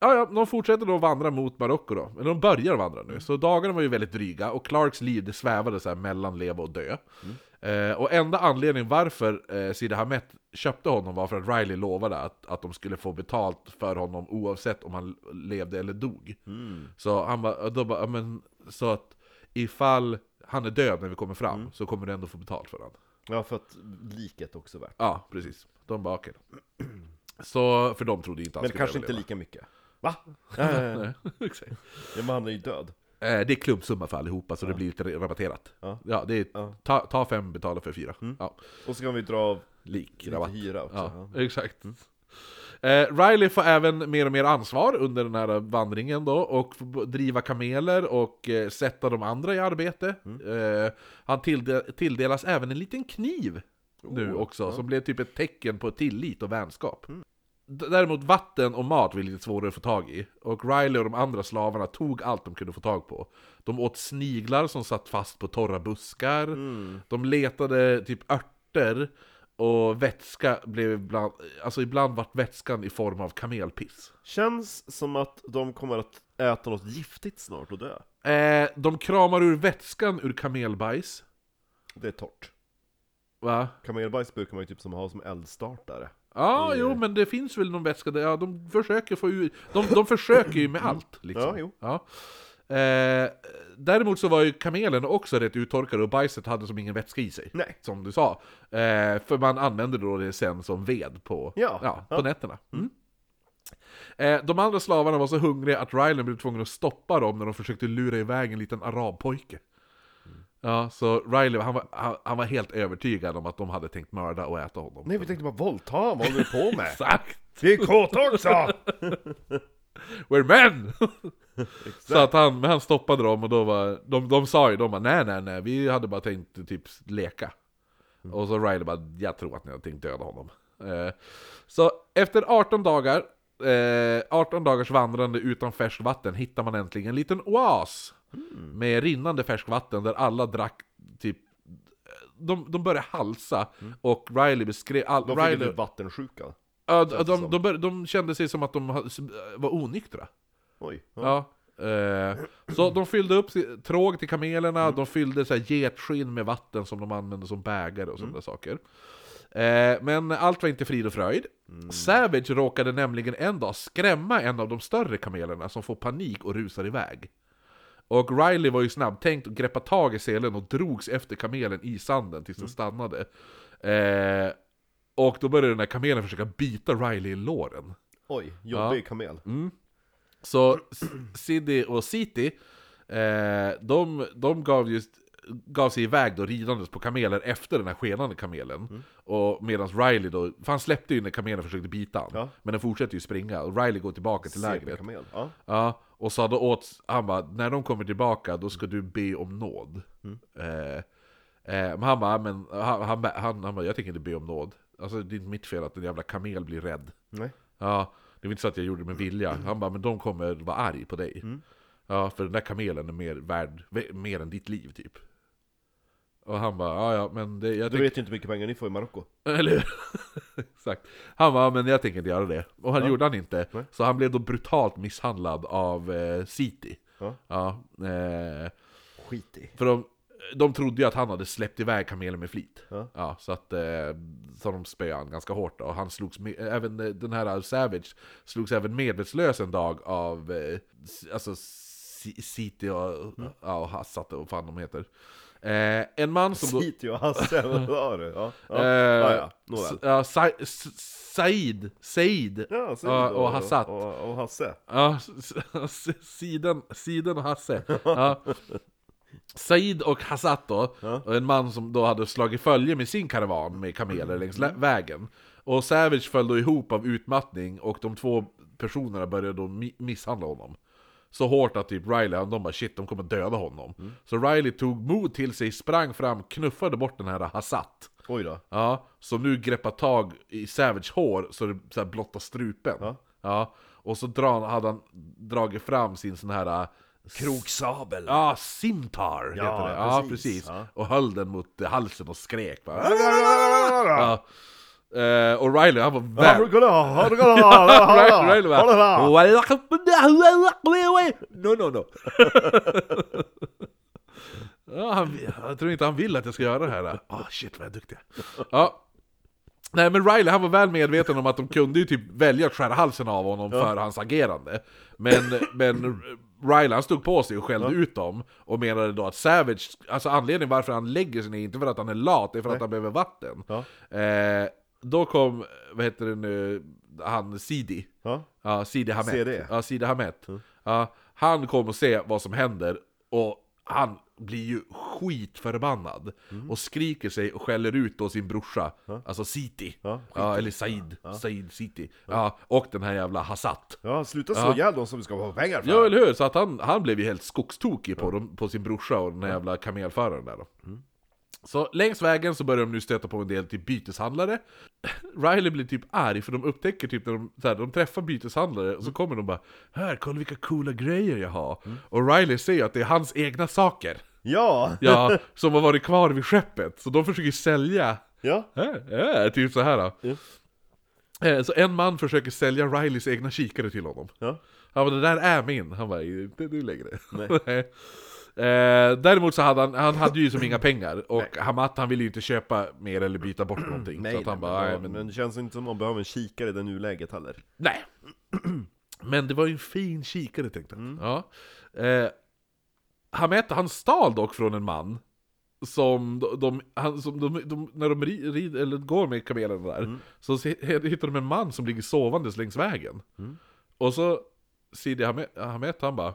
A: ja, ja, de fortsätter då vandra mot Marocko då, men de börjar vandra nu. Så dagarna var ju väldigt dryga, och Clarks liv det svävade så här mellan leva och dö.
B: Mm.
A: Eh, och enda anledningen varför eh, Sidi Hamet köpte honom var för att Riley lovade att, att de skulle få betalt för honom oavsett om han levde eller dog.
B: Mm.
A: Så han bara, då bara, ja, men så att ifall han är död när vi kommer fram
B: Mm.
A: så kommer du ändå få betalt för honom.
B: Ja, för att liket är också värt.
A: Ja, precis. De bara okej då. Så, för de trodde ju inte han
B: Men
A: skulle
B: kanske inte
A: överleva.
B: lika mycket. Va? Nej, nej, nej.
A: Nej, exakt.
B: ja, men han är ju död.
A: Eh, det är klumpsumma för allihopa, så det blir lite rabatterat.
B: Ja.
A: det är,
B: Ja.
A: ta, ta fem, betala för fyra. Ja.
B: Och så kan vi dra av
A: Lik,
B: lite
A: rabatt.
B: hyra också.
A: Ja,
B: Ja. Mm.
A: exakt. Eh, Riley får även mer och mer ansvar under den här vandringen då, och får b- driva kameler och eh, sätta de andra i arbete.
B: Mm.
A: Eh, han tillde- tilldelas även en liten kniv nu
B: Oh,
A: också,
B: ja. Mm.
A: som blev typ ett tecken på tillit och vänskap. D- Däremot vatten och mat var lite svårare att få tag i, och Riley och de andra slavarna tog allt de kunde få tag på. De åt sniglar som satt fast på torra buskar, de letade typ örter, och vätska blev ibland, alltså ibland vart vätskan i form av kamelpiss.
B: Känns som att de kommer att äta något giftigt snart och dö.
A: Eh, de kramar ur vätskan ur kamelbajs,
B: Det är torrt.
A: va?
B: Kamelbajs brukar man ju typ som ha som eldstartare.
A: Ja, jo,
B: Eh.
A: men det finns väl någon vätska där. Ja, de försöker få ur... De, de försöker ju med allt, liksom.
B: Mm. Ja, jo.
A: Eh, däremot så var ju kamelen också rätt uttorkad och bajset hade som ingen vätska i sig.
B: Nej.
A: Som du sa. Eh, för man använde då det sen som ved på,
B: Ja.
A: på nätterna. Mm. Eh, de andra slavarna var så hungriga att Rylan blev tvungen att stoppa dem när de försökte lura iväg en liten arabpojke.
B: Mm.
A: Ja, så Riley han var, han, han var helt övertygad om att de hade tänkt mörda och äta honom.
B: Nej, vi tänkte bara våldta honom, vad håller du på med?
A: Exakt!
B: Vi är kåta också!
A: We're men! så att han, men han stoppade dem och då var, de, de sa ju, de bara nej nej nej, vi hade bara tänkt typ leka.
B: Mm.
A: Och så Riley bara, jag tror att ni har tänkt döda honom. Eh, Så efter 18 dagar eh, 18 dagars vandrande utan färskvatten hittar man äntligen en liten oas
B: Mm.
A: med rinnande färskvatten där alla drack typ... De, de började halsa och Riley beskrev... All,
B: Mm. De fick ju
A: Riley,
B: typ vattensjuka.
A: ja, de,
B: det
A: de,
B: som.
A: de, började, de kände sig som att de ha- s- var onyktra.
B: Oj. Ja.
A: Ja. Eh, så de fyllde upp si- tråg till kamelerna, de fyllde så här getskinn med vatten som de använde som bägare och sådana där saker. Eh, men allt var inte frid och fröjd. Savage råkade nämligen en dag skrämma en av de större kamelerna som får panik och rusar iväg. Och Riley var ju snabbtänkt och greppade tag i selen och drogs efter kamelen i sanden tills den stannade. Eh, och då började den här kamelen försöka bita Riley i låren.
B: Oj, jobbig kamel.
A: Så S- Sidney och City, eh, de, de gav, just, gav sig iväg då ridandes på kameler efter den här skenande kamelen. Och medan Riley då, för han släppte ju när kamelen försökte bita han.
B: Ja.
A: Men den fortsätter ju springa och Riley går tillbaka till lägret.
B: CP-kamel. Ja.
A: Ja, och sa då åt, han bara, när de kommer tillbaka då ska du be om nåd. Eh, eh, men han bara, men, han, han, han, han bara, jag tänker inte be om nåd. Alltså det är inte mitt fel att en jävla kamel blir rädd.
B: Nej.
A: Ja, det var inte så att jag gjorde det med vilja. Han bara, men de kommer vara arg på dig.
B: Mm.
A: Ja, för den där kamelen är mer värd, mer än ditt liv typ. Och han bara, ja ja, men det, jag
B: Du
A: tänker...
B: vet ju inte hur mycket pengar ni får i Marocko.
A: Eller hur? Exakt. Han bara, men jag tänker inte göra det. Och han gjorde han inte.
B: Nej.
A: Så han blev då brutalt misshandlad av eh, City.
B: Ja.
A: Ja, eh,
B: Skit i.
A: för de, de trodde ju att han hade släppt iväg kamelen med flit.
B: Ja.
A: så att eh, så de spöade han ganska hårt. Då. Och han slogs med, även eh, den här Savage slogs även medvetslös en dag av eh, s- alltså, C- City och,
B: Mm.
A: ja, och Hassat och vad fan de heter. Eh, en man som då...
B: City och Hasse, vad sa du? Ja, ja.
A: eh,
B: ja, ja. nåväl.
A: s- ja, Sa, S- Said, Said,
B: Ja, City
A: ja, och Hassat.
B: Och, och Hasse.
A: Ja, s- s- Siden, Siden och Hasse. Ja. Said och Hassat då, en man som då hade slagit följe med sin karavan med kameler längs lä- vägen. Och Savage föll då ihop av utmattning och de två personerna började då mi- misshandla honom. Så hårt att typ Riley, de bara shit, de kommer döda honom. Så Riley tog mod till sig, sprang fram, knuffade bort den här Hassat.
B: Oj då.
A: Ja, som nu greppar tag i Savage hår så det så här blottar strupen.
B: Ja.
A: och så drar, hade han dragit fram sin sån här... äh,
B: Kroksabel. Ja.
A: Ja, simtar
B: Ja,
A: heter det. Ja,
B: precis.
A: precis.
B: Ja.
A: Och höll den mot eh, halsen och skrek bara. Ja. Eh, och Riley han var väl... Riley, Riley bara... No, no, no. ja, han, jag tror inte han vill att jag ska göra det här. Ah, shit vad jag är duktig. Ja. Nej men Riley han var väl medveten om att de kunde ju typ välja att skära halsen av honom för hans agerande. Men, men Riley han stod på sig och skällde ut dem och menade då att Savage, alltså anledningen varför han lägger sig ner, är inte för att han är lat, det är för att han behöver vatten.
B: Ja.
A: Eh, då kom, vad heter det nu, han Sidi.
B: Ja.
A: Ja, Sidi Hamet.
B: CD.
A: Ja, Sidi Hamet. Ja, han kommer att se vad som händer och han blir ju skitförbannad. Och skriker sig och skäller ut då sin brorsa, alltså Siti.
B: Ja,
A: eller Said, Said Siti. Ja. och den här jävla Hassat.
B: ja, sluta slå ihjäl dem som vi ska få pengar för.
A: Ja, eller hur? Så att han, han blev ju helt skogstokig på, dem, på sin brorsa och den här jävla kamelföraren där då. Så längs vägen så börjar de nu stöta på en del typ byteshandlare. Riley blir typ arg för de upptäcker typ när de, så här, de träffar byteshandlare och så kommer de bara Här, kolla vilka coola grejer jag har! Och Riley ser ju att det är hans egna saker,
B: Ja.
A: ja, som har varit kvar vid skeppet. Så de försöker sälja
B: Ja.
A: Äh, äh, typ så här. då. Eh, Så en man försöker sälja Rileys egna kikare till honom.
B: Ja.
A: Han bara, det där är min. Han bara, inte du längre.
B: Nej.
A: eh, däremot så hade han, han hade ju som inga pengar, och Hamat han ville ju inte köpa mer eller byta bort någonting. så att han bara, nej, men,
B: men det känns inte som man behöver en kikare i det nuläget heller.
A: nej. men det var ju en fin kikare tänkte han. Ja. Eh, Hamet, han stal dock från en man. Som de, de, han, som de, de när de ri- rider, eller går med kamelerna där, så se- hittar de en man som ligger sovandes längs vägen. Och så Sidi Hamet, Hamet han bara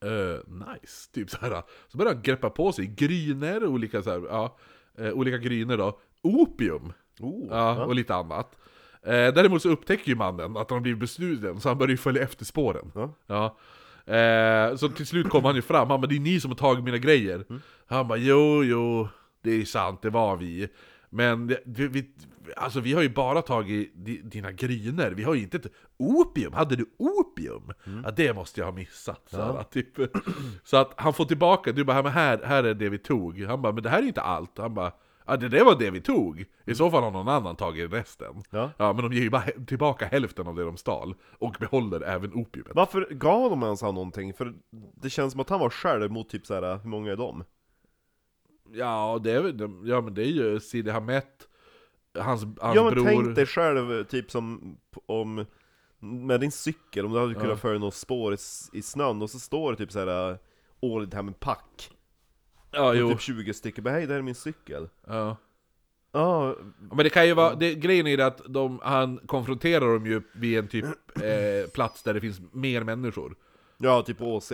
A: eh, nice, typ så här. Så börjar han greppa på sig gryner, olika så här, ja, eh, olika gryner då, opium
B: Oh.
A: ja, och lite annat. Eh, däremot så upptäcker ju mannen att han har blivit bestulen, så han börjar ju följa efter spåren.
B: Ja.
A: Eh, så till slut kommer han ju fram, han bara 'Det är ni som har tagit mina grejer' Han bara 'Jo, jo, det är sant, det var vi' Men det, vi, vi, alltså vi har ju bara tagit di- dina gryner, vi har ju inte... ett- Opium? Hade du opium? Ja, det måste jag ha missat. Så, här, typ. så att han får tillbaka, du bara, "Ja, men här, här är det vi tog. Han bara, men det här är inte allt. Han bara, ja det, det var det vi tog. I så fall har någon annan tagit resten.
B: Ja.
A: men de ger ju bara he- tillbaka hälften av det de stal, och behåller även opiumet.
B: Varför gav de ens han någonting? För det känns som att han var själv mot typ så här, hur många är de?
A: Ja, det är, väl- de- ja, men det är ju Sidi Hamet, hans, hans
B: ja men
A: bror.
B: tänk dig själv typ som p- om med din cykel, om du hade kunnat följa något spår i, s- i snön och så står det typ så här årligt här med pack
A: ja,
B: och
A: jo.
B: typ 20 stycken, bara hej det här är min cykel
A: Ja.
B: Ja,
A: Men det kan ju vara, det, grejen är det att de, han konfronterar dem ju vid en typ eh, plats där det finns mer människor.
B: ja typ ÅC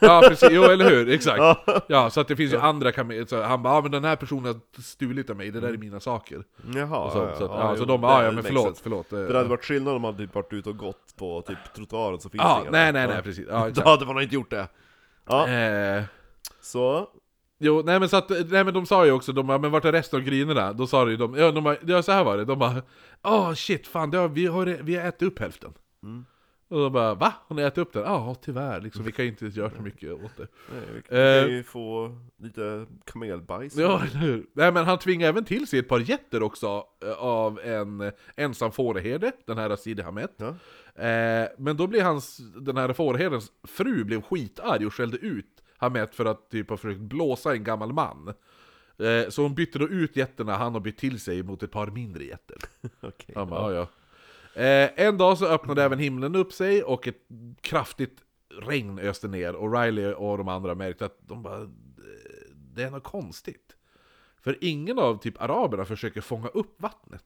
A: Ja precis, jo eller hur, exakt. Ja, så att det finns ju andra kameler, så han bara ah, men den här personen har stulit av mig, det där är mina saker.
B: Jaha,
A: Och sånt, så, att,
B: Mm. ja,
A: ja, så
B: jo,
A: de
B: det
A: bara ah, ja
B: makes
A: men förlåt,
B: sense.
A: förlåt. eh."
B: För det hade varit skillnad om han typ varit ute och gått på typ trottoaren så finns
A: Ja,
B: det inga
A: nej
B: där.
A: nej
B: Ja.
A: nej precis. Ja,
B: Då
A: exakt.
B: hade man inte gjort det! Ja,
A: Eh,
B: så,
A: Jo, nej men så att, nej men de sa ju också, de bara, men vart är resten av grinerna? Då sa det ju de, ja, de bara, ja så här var det, de bara Åh shit, fan det har, vi, har, vi har ätit upp hälften Och de bara, va? Har ni ätit upp den? Ja tyvärr, liksom, vi kan ju inte göra så mycket åt det
B: nej, vi
A: Eh.
B: kan ju få lite kamelbajs
A: Ja, eller hur? Nej men han tvingar även till sig ett par getter också eh, Av en eh, ensam fåreherde, den här Sidi Hamet
B: Ja.
A: eh, Men då blir hans, den här fåreherdens fru blev skitarg och skällde ut Hamet för att typ ha försökt blåsa en gammal man eh, Så hon bytte då ut getterna han har bytt till sig mot ett par mindre getter
B: Okej.
A: Han bara, ja. ja. Eh, en dag så öppnade även himlen upp sig och ett kraftigt regn öste ner och Riley och de andra märkte att de bara, eh, det är något konstigt. För ingen av typ araberna försöker fånga upp vattnet.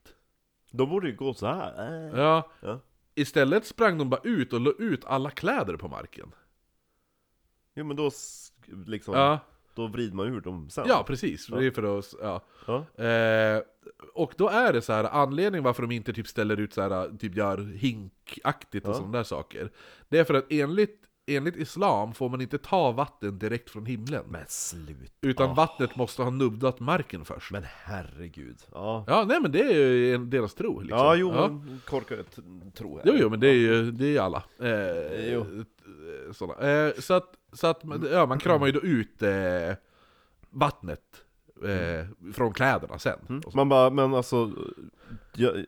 B: De borde ju gå så här. Eh.
A: Ja.
B: Ja.
A: Istället sprang de bara ut och la ut alla kläder på marken.
B: Jo men då s- liksom,
A: Ja,
B: då vrider man ur dem sen.
A: ja precis. Det är för att, ja.
B: ja.
A: Eh, och då är det så här anledningen varför de inte typ ställer ut så här, typ gör hinkaktigt och
B: Ja.
A: sådana där saker. Det är för att enligt, enligt Islam får man inte ta vatten direkt från himlen.
B: Men slut.
A: Utan vattnet måste ha nuddat marken först.
B: Men herregud. Ja.
A: Ja, nej men det är ju en deras tro liksom.
B: Ja, jo, men korkar ett tro här.
A: Jo, jo, men det är ju det är ju alla. Eh,
B: Jo.
A: eh, Såna. Eh, så att, så att man, ja, man kramar ju då ut eh, vattnet eh, från kläderna sen. Och så.
B: Man bara, men alltså, jag,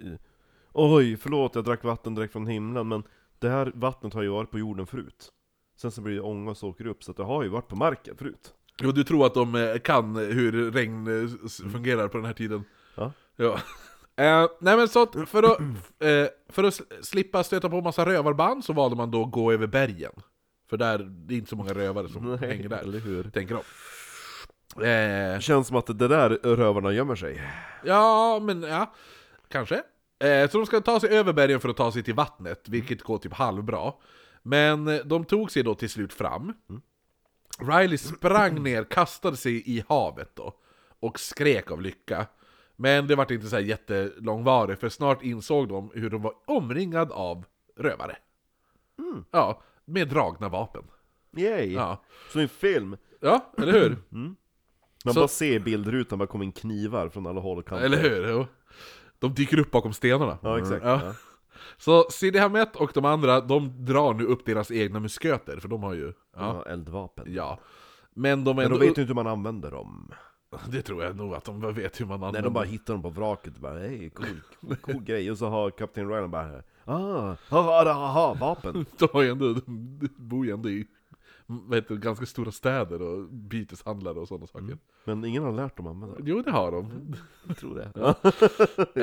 B: oj, förlåt, jag drack vatten direkt från himlen, men det här vattnet har ju varit på jorden förut. Sen så blir det ånga och så åker det upp, så att det har ju varit på marken förut.
A: Jo, du tror att de eh, kan hur regn eh, s- fungerar på den här tiden?
B: Ja.
A: ja. Eh, nej men så att för att, eh, för att sl- slippa stöta på massa rövarband så valde man då att gå över bergen. För där, det är inte så många rövare som hänger där,
B: eller hur?
A: tänker de. Eh,
B: Det känns som att det där rövarna gömmer sig.
A: ja, men ja, kanske. Eh, så de ska ta sig över bergen för att ta sig till vattnet, vilket går typ halvbra. Men eh, de tog sig då till slut fram. Riley sprang ner, kastade sig i havet då och skrek av lycka. Men det vart inte så här jättelångvarigt för snart insåg de hur de var omringad av rövare. Ja, med dragna vapen.
B: Yay!
A: Ja,
B: Så i en film,
A: ja eller hur?
B: man
A: Så-
B: bara ser i bildrutan, bara kommer in knivar från alla håll och kanter.
A: Eller hur? Jo. De dyker upp bakom stenarna.
B: Ja, exakt.
A: Ja.
B: Ja.
A: Så Sidi Hamet och de andra, de drar nu upp deras egna musköter, för de har ju... Ja.
B: Ja, eldvapen.
A: ja. Men de är
B: Men
A: ändå...
B: de vet ju inte hur man använder dem.
A: Det tror jag nog att de vet hur man använder.
B: Nej, de bara hittar dem på vraket och bara hej, cool, cool, cool grej. Och så har Kapten Ryan bara ah, ha, ha, ha, vapen.
A: De, har ju ändå, de bor ju ändå i vad heter, det, ganska stora städer och byteshandlare och sådana saker.
B: Men ingen har lärt dem att använda dem,
A: Jo, det har de.
B: Mm. jag tror det.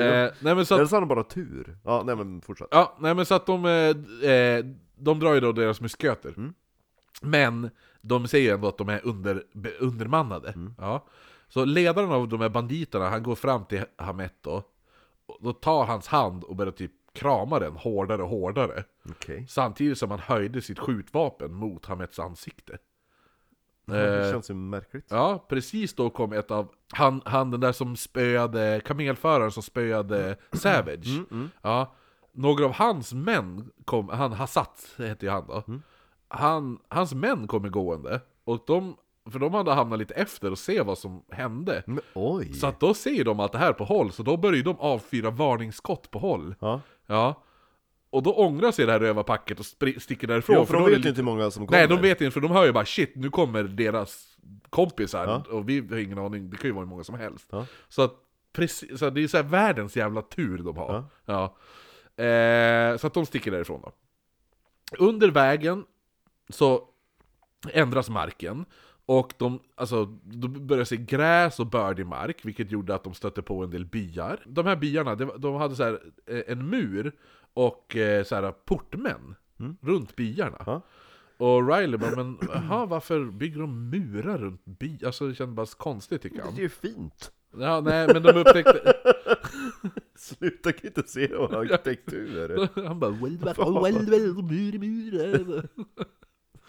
A: eh, nej, men så att,
B: Eller så har de bara tur. Ja, nej men fortsätt.
A: Ja, nej men så att de, eh, eh, de drar ju då deras musköter. Men de säger ju ändå att de är under, be- undermannade. Ja. Så ledaren av de här banditerna, han går fram till Hamet då. Och Då tar hans hand och börjar typ krama den hårdare och hårdare.
B: Okej.
A: Samtidigt som han höjde sitt skjutvapen mot Hamets ansikte.
B: Det känns ju märkligt.
A: Eh, Ja, precis då kom ett av, han, han den där som spöade, kamelföraren som spöade Savage.
B: Mm,
A: Ja, några av hans män kom,
B: Mm.
A: han Hassat hette ju han då. Han, hans män kommer gående, och de För de hade hamnat lite efter och se vad som hände.
B: Men oj!
A: Så att då ser de allt det här på håll, så då börjar ju de avfyra varningsskott på håll.
B: Ja.
A: Ja. Och då ångrar sig det här rövarpacket och spri- sticker därifrån.
B: ja, för
A: då
B: de
A: är det
B: vet ju inte hur många som kommer.
A: Nej, de vet inte, för de hör ju bara shit, nu kommer deras kompisar
B: Ja.
A: och vi har ingen aning, det kan ju vara hur många som helst.
B: Ja.
A: Så att precis, så att det är så här världens jävla tur de har.
B: Ja.
A: Ja. Eh, så att de sticker därifrån då. Under vägen så ändras marken och de, alltså, de började se gräs och bördig mark, vilket gjorde att de stötte på en del byar. De här byarna, det var- de hade så här, eh, en mur och eh, så här, portmän runt byarna.
B: Ja.
A: Och Riley bara, men aha, varför bygger de murar runt by? Alltså det kändes bara konstigt tycker
B: Det
A: han.
B: är ju fint!
A: Ja, nej, men de upptäckte...
B: Sluta kritisera vår arkitektur!
A: Han bara, well, well, well, well, mur, mur.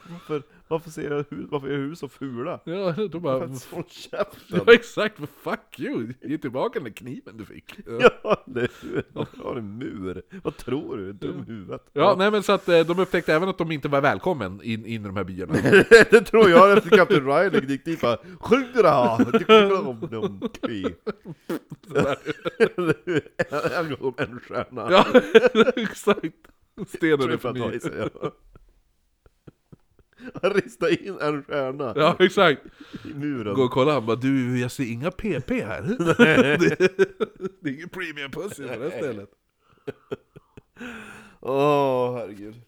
B: Varför, varför, ser jag hus, varför är hus så fula?
A: Ja, de
B: För
A: bara,
B: att håll
A: ja
B: käften!
A: exakt, men fuck you! Ge tillbaka den där kniven du fick. Ja,
B: Ja, eller hur? Varför har du en mur? Vad tror du? Dum huvudet?
A: nej men så att eh, de upptäckte även att de inte var välkommen in, in i de här byarna.
B: det tror jag efter Captain Riley gick dit bara Skjut det här! Tycker om dem kvi. En gång en stjärna.
A: Ja, exakt. Stenen är
B: Tror jag
A: för
B: att han
A: ny.
B: i sig, ja. Han ristar in en stjärna
A: Ja, exakt.
B: i muren.
A: Gå och kolla, han bara du, jag ser inga PP här. det, det är ingen premium pussy på det här stället.
B: Åh herregud.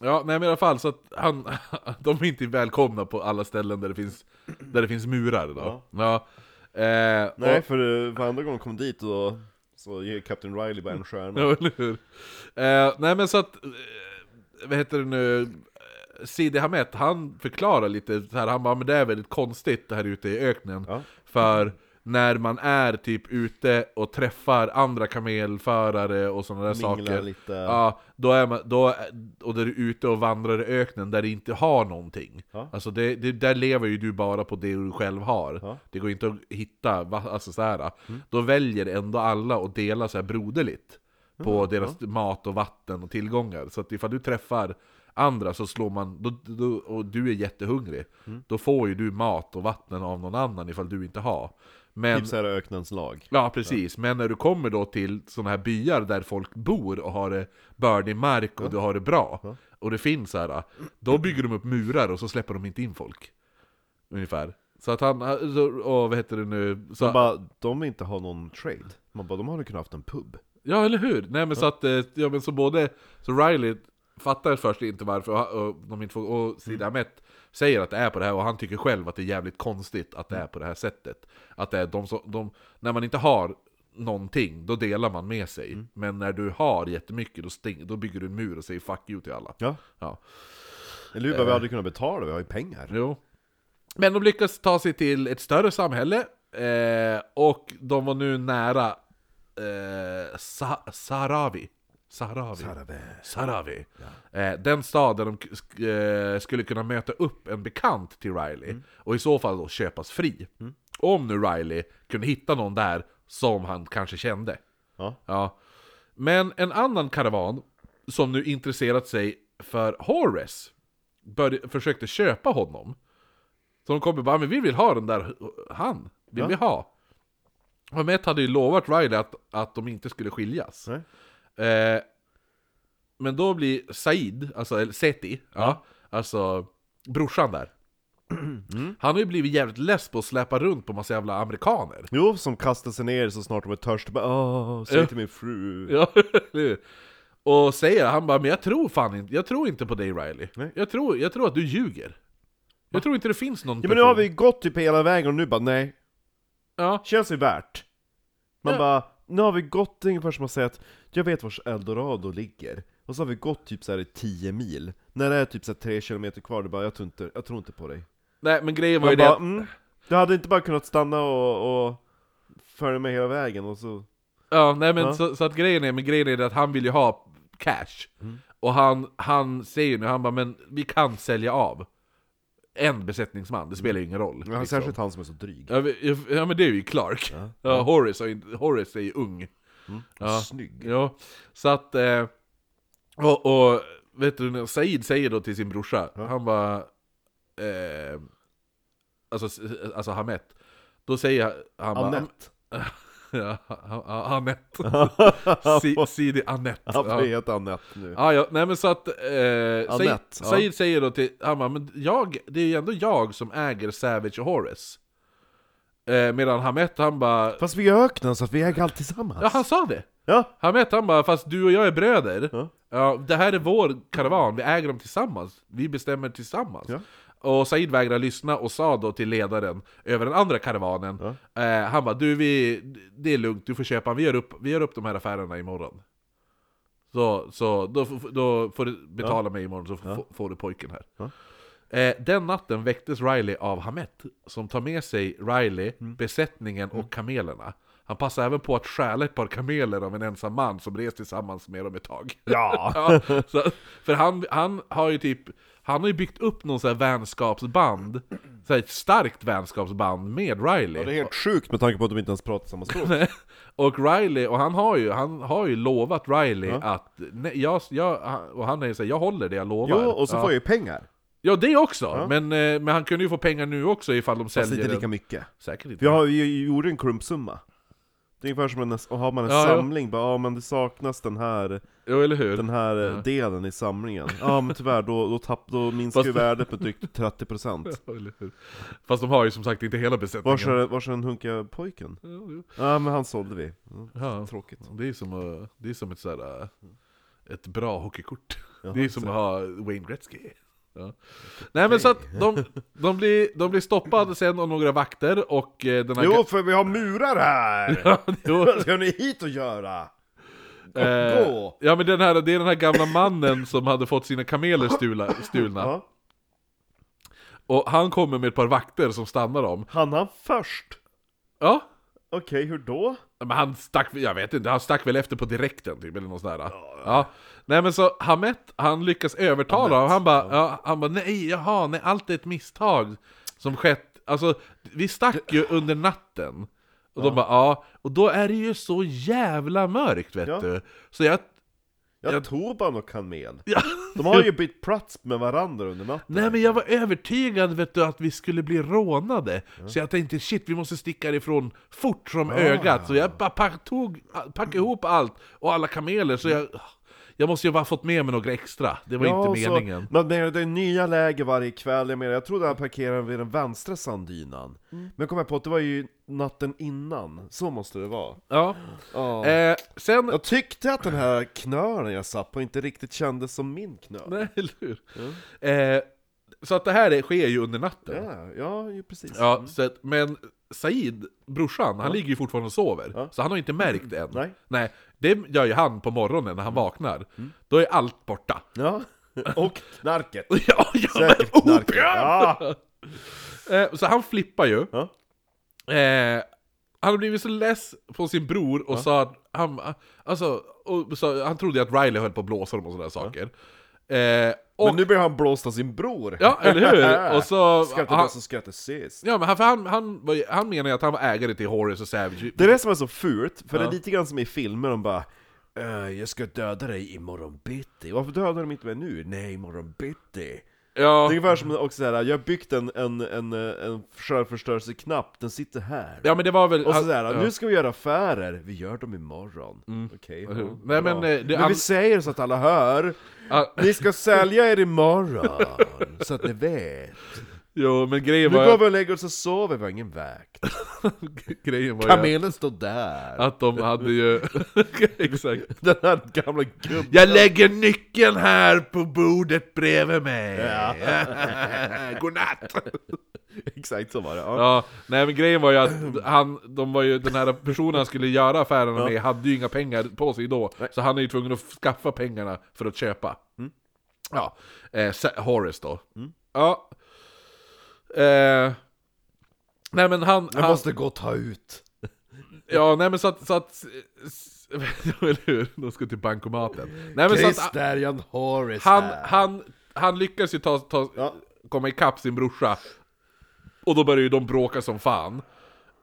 A: Ja, nej men i alla fall så att han, de är inte välkomna på alla ställen där det finns, där det finns murar då. Ja. Eh,
B: Nej
A: och-
B: för, eh, för andra gången kom dit och så ger Captain Riley bara en stjärna.
A: Ja, eller hur? Eh, nej men så att, eh, vad heter det nu, Eh, Sidi Hamet, han förklarar lite så här, han bara men det är väldigt konstigt det här ute i öknen.
B: Ja.
A: För när man är typ ute och träffar andra kamelförare och sådana där
B: Minglar
A: saker.
B: lite.
A: Ja, då är man, då, och där du är ute och vandrar i öknen där du inte har någonting.
B: Ja.
A: Alltså det, det, där lever ju du bara på det du själv har.
B: Ja. Mm.
A: Det går inte att hitta, va- alltså så här. Då väljer ändå alla att dela så här broderligt på deras mat och vatten och tillgångar. Så att ifall du träffar andra så slår man, då, då, och du är jättehungrig,
B: Mm.
A: då får ju du mat och vatten av någon annan ifall du inte har. Men,
B: Typ såhär öknens lag.
A: Ja, precis. Men när du kommer då till sådana här byar där folk bor och har det bördig mark och du har det bra, och det finns så här, då bygger de upp murar och så släpper de inte in folk. Ungefär. Så att han, så- och vad heter det nu? Så,
B: Man bara, de vill inte ha någon trade. Man bara, de hade kunnat haft en pub.
A: ja, eller hur? Nej men så att, eh, ja men så både, så Riley fattar först inte varför, och, och de inte får, och Sidi Ahmet säger att det är på det här, och han tycker själv att det är jävligt konstigt att det är på det här sättet. Att det är de som, de, när man inte har någonting, då delar man med sig. Men när du har jättemycket, då, stäng, då bygger du en mur och säger 'fuck you' till alla.
B: Ja.
A: Ja.
B: Eller hur? Bara, Vi hade kunnat betala, vi har ju pengar.
A: Jo. Men de lyckas ta sig till ett större samhälle, eh, och de var nu nära eh, Sa- Sahrawi. Sahrawi. Sarawi. Eh, den stad där de k- sk- eh, skulle kunna möta upp en bekant till Riley, och i så fall då köpas fri. Om nu Riley kunde hitta någon där som han kanske kände.
B: Ja.
A: Ja. Men en annan karavan, som nu intresserat sig för Horace, började, försökte köpa honom. Så de kommer bara, men vi vill ha den där han, vill
B: Ja.
A: vi ha. Och Met hade ju lovat Riley att, att de inte skulle skiljas.
B: Nej.
A: Eh, men då blir Said, alltså eller Seti, ja. alltså brorsan där.
B: Mm.
A: Han har ju blivit jävligt less på att släpa runt på massa jävla amerikaner.
B: Jo, som kastar sig ner så snart de är törstiga, bara åh, säg till min fru.
A: Ja, eller hur? Och säger han bara, men jag tror fan inte, jag tror inte på dig Riley.
B: Nej.
A: Jag tror, jag tror att du ljuger. Jag tror inte det finns någon
B: Ja men nu
A: person."
B: har vi ju gått typ hela vägen och nu bara nej,
A: Ja,
B: känns det värt? Man
A: Ja.
B: bara, nu har vi gått ungefär som att säga att jag vet vars eldorado ligger, och så har vi gått typ så här i 10 mil, när det är typ så här 3 km kvar, du bara jag tror inte, jag tror inte på dig.
A: nej men grejen var ju
B: Man
A: det
B: bara,
A: att,
B: mm, du hade inte bara kunnat stanna och, och följa med hela vägen och så,
A: ja, nej men
B: Ja.
A: så, så att grejen är, men grejen är det att han vill ju ha cash.
B: Mm.
A: Och han, han säger nu, han bara, men vi kan sälja av. En besättningsman, det spelar ju ingen roll.
B: ja,
A: liksom.
B: särskilt han som är så dryg.
A: Ja, vi- ja men det är ju Clark. Ja. Mm. Horace, har ju- Horace är ju ung. Ja.
B: Snygg.
A: Ja, så att... Eh, och, och vet du, när Said säger då till sin brorsa, han bara... Eh, alltså, s- alltså Hamet, då säger han bara...
B: Anette.
A: Ja, A- A- Anette. Si- Sidi Anette.
B: Han får
A: Ja.
B: heta Anette nu.
A: Ja, ja, nej men så att... Eh, Anette,
B: Anette, typ. ja.
A: säg, säger då till... Han bara, men jag, det är ju ändå jag som äger Savage och Horace. Eh, medan Hamet, han bara...
B: Fast vi är i öknen så att vi äger allt tillsammans.
A: Ja, han sa det!
B: Ja.
A: Hamet, han bara, fast du och jag är bröder.
B: Ja.
A: Ja, det här är vår karavan, vi äger dem tillsammans. Vi bestämmer tillsammans.
B: Ja.
A: Och Said vägrade lyssna och sa då till ledaren över den andra karavanen, eh, han bara du vi, det är lugnt, du får köpa, vi gör upp, vi gör upp de här affärerna imorgon. Så, så då, f- då får du betala mig imorgon så f- f- får du pojken här.
B: Ja.
A: Eh, den natten väcktes Riley av Hamet, som tar med sig Riley,
B: Mm.
A: besättningen och kamelerna. Han passar även på att stjäla ett par kameler av en ensam man som rest tillsammans med dem ett tag.
B: Ja.
A: Ja, så, för han, han har ju typ Han har ju byggt upp någon sån här vänskapsband så här ett starkt vänskapsband med Riley
B: Ja, Det är helt sjukt med tanke på att de inte ens pratar samma språk.
A: Och Riley, och han har ju, han har ju lovat Riley att nej, jag, jag, han- Och han är så här, jag håller det jag lovar
B: Jo, och så
A: ja.
B: får jag ju pengar.
A: ja det också! Men, eh, men han kunde ju få pengar nu också ifall de
B: Fast
A: säljer
B: inte lika
A: den.
B: mycket.
A: Säkert inte
B: För jag har ju gjort en klumpsumma. Det är ungefär som en, och har man en
A: Ja, ja.
B: samling, bara ja men det saknas den här,
A: Jo eller hur?
B: den här eh, delen i samlingen. Ja men tyvärr, då, då, tapp, då minskar
A: Fast-
B: ju värdet med drygt 30%.
A: Ja, eller hur? Fast de har ju som sagt inte hela
B: Vars
A: besättningen
B: är, vars är den hunkiga pojken?
A: Ja,
B: Ja men han sålde vi. Mm,
A: ja.
B: Tråkigt.
A: Det är som, att- det är som ett, sådär, eh, ett bra hockeykort. det är som att ha Wayne Gretzky. Ja. Nej men så att de, de, blir, de blir stoppade sen av några vakter och eh, den här...
B: Jo för vi har murar här!
A: Ja, jo,
B: Vad ska ni hit och göra?
A: eh,
B: Gå!
A: ja men den här, det är den här gamla mannen som hade fått sina kameler stula, stulna.
B: Ja.
A: Och han kommer med ett par vakter som stannar dem.
B: Han han först?
A: Ja,
B: Okej, hur då?
A: Men han stack, jag vet inte, han stack väl efter på direkten typ, eller något sånt där. Ja. Nej men så Hamet, han lyckas övertala och han bara, ja, han bara nej, jaha, nej, allt är ett misstag som skett. Alltså, vi stack ju under natten. Och de bara, ja, och då är det ju så jävla mörkt vet
B: Ja.
A: du. Så jag,
B: Jag,
A: Jag-
B: tog bara någon kanel.
A: ja,
B: De har ju bytt plats med varandra under natten.
A: nej men jag var övertygad vet du att vi skulle bli rånade. Så jag tänkte shit, vi måste sticka ifrån fort
B: Ah.
A: som ögat. Så jag bara pack, tog, packade ihop allt och alla kameler så jag... Jag måste ju bara fått med mig några extra, det var inte
B: och så-
A: meningen.
B: men det är, det är nya läger varje kväll, jag menar jag trodde han parkerade vid den vänstra sanddynan.
A: Mm.
B: Men jag kom jag på att det var ju natten innan, så måste det vara.
A: Ja.
B: Ja.
A: Eh, sen...
B: Jag tyckte att den här knölen jag satt på inte riktigt kändes som min knöl.
A: Nej, eller hur? Eh, så att det här är- sker ju under natten.
B: Ja, ja ju precis.
A: Ja, så att, men Said, brorsan, han ligger ju fortfarande och sover.
B: Ja.
A: Så han har inte märkt det än.
B: Nej. Mm.
A: det gör ju han på morgonen när han vaknar. Då är allt borta.
B: Ja. Och knarket.
A: ja, ja,
B: Säkert
A: men-
B: knarket.
A: opium!
B: Ja.
A: Eh, Så han flippar ju.
B: Ja.
A: Eh, han har blivit så less på sin bror och sa att han, alltså, och sa, han trodde att Riley höll på att blåsa dem och sådana saker. Eh, och,
B: Men nu blir han blåst av sin bror.
A: Ja, eller hur? Och så-
B: Skrattar
A: han-
B: den som skrattar sist.
A: ja, men han, för han, han, var ju- han menar ju att han var ägare till Horace och Savage.
B: Det är det som är så fult, för det är lite grann som i filmer, de bara "Eh, jag ska döda dig imorgon bitti. Varför dödar de inte mig nu? Nej, imorgon bitti. Det är
A: Ja,
B: ungefär som också såhär, jag har byggt en, en, en, eh, en självförstörelseknapp, den sitter här.
A: ja men det var väl...
B: Och
A: han-
B: sådär,
A: ja. Mm.
B: nu ska vi göra affärer, vi gör dem imorgon. Okej, ja,
A: hur? Nej,
B: bra.
A: men, eh, det-
B: vi
A: han-
B: säger så att alla hör,
A: Ja,
B: ni ska sälja er imorgon, så att ni vet.
A: jo, men grejen
B: Nu
A: var,
B: går
A: ju-
B: vi och lägger oss och sover, vi har ingen vakt.
A: grejen var ju
B: Kamelen står där.
A: att de hade ju... Exakt.
B: Den här gamla gubben.
A: Jag lägger nyckeln här på bordet bredvid mig! Godnatt!
B: Exakt så var det. Ja.
A: Ja, nej men grejen var ju att han, de var ju, den här personen han skulle göra affärerna med hade ju inga pengar på sig då, så han är ju tvungen att skaffa pengarna för att köpa. Ja, eh, Sa- Horace då. Ja. Eh, nej men han...
B: Jag
A: han
B: måste gå och ta ut.
A: Ja, nej men så att... Så att s- eller hur? De ska till bankomaten. Nej men så att...
B: Christerian Horace
A: Han,
B: här.
A: han, han lyckas ju ta, ta,
B: Eh. Ja.
A: komma ikapp sin brorsa, och då börjar ju de bråka som fan.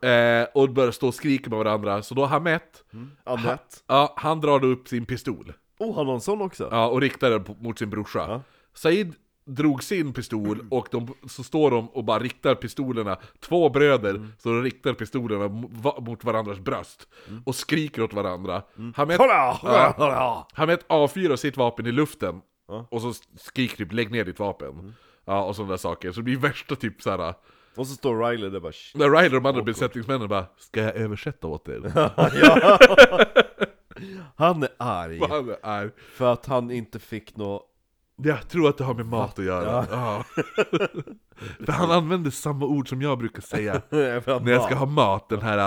A: Eh, och börjar stå och skrika med varandra, så då Hamet,
B: Anette.
A: ja, han drar då upp sin pistol
B: Oh, han har en sån också?
A: ja, och riktar den på- mot sin brorsa. Said drog sin pistol och de, så står de och bara riktar pistolerna, två bröder står och riktar pistolerna mo- va- mot varandras bröst och skriker åt varandra. Han med,
B: Kolla!
A: Ja.
B: Kolla!
A: han med ett A4 och sitt vapen i luften
B: Ja. Mm.
A: och så skriker typ 'lägg ner ditt vapen' Ja, och sådana där saker, så det blir värsta typ såhär
B: Och så står Riley där bara "Shh."
A: När Ryder och de andra besättningsmännen bara 'Ska jag översätta åt er?'
B: Han är arg
A: Fan, det är,
B: för att han inte fick nå...
A: jag tror att det har med mat att göra ja. För han använder samma ord som jag brukar säga
B: För att
A: När jag
B: han-
A: ska ha mat, den här...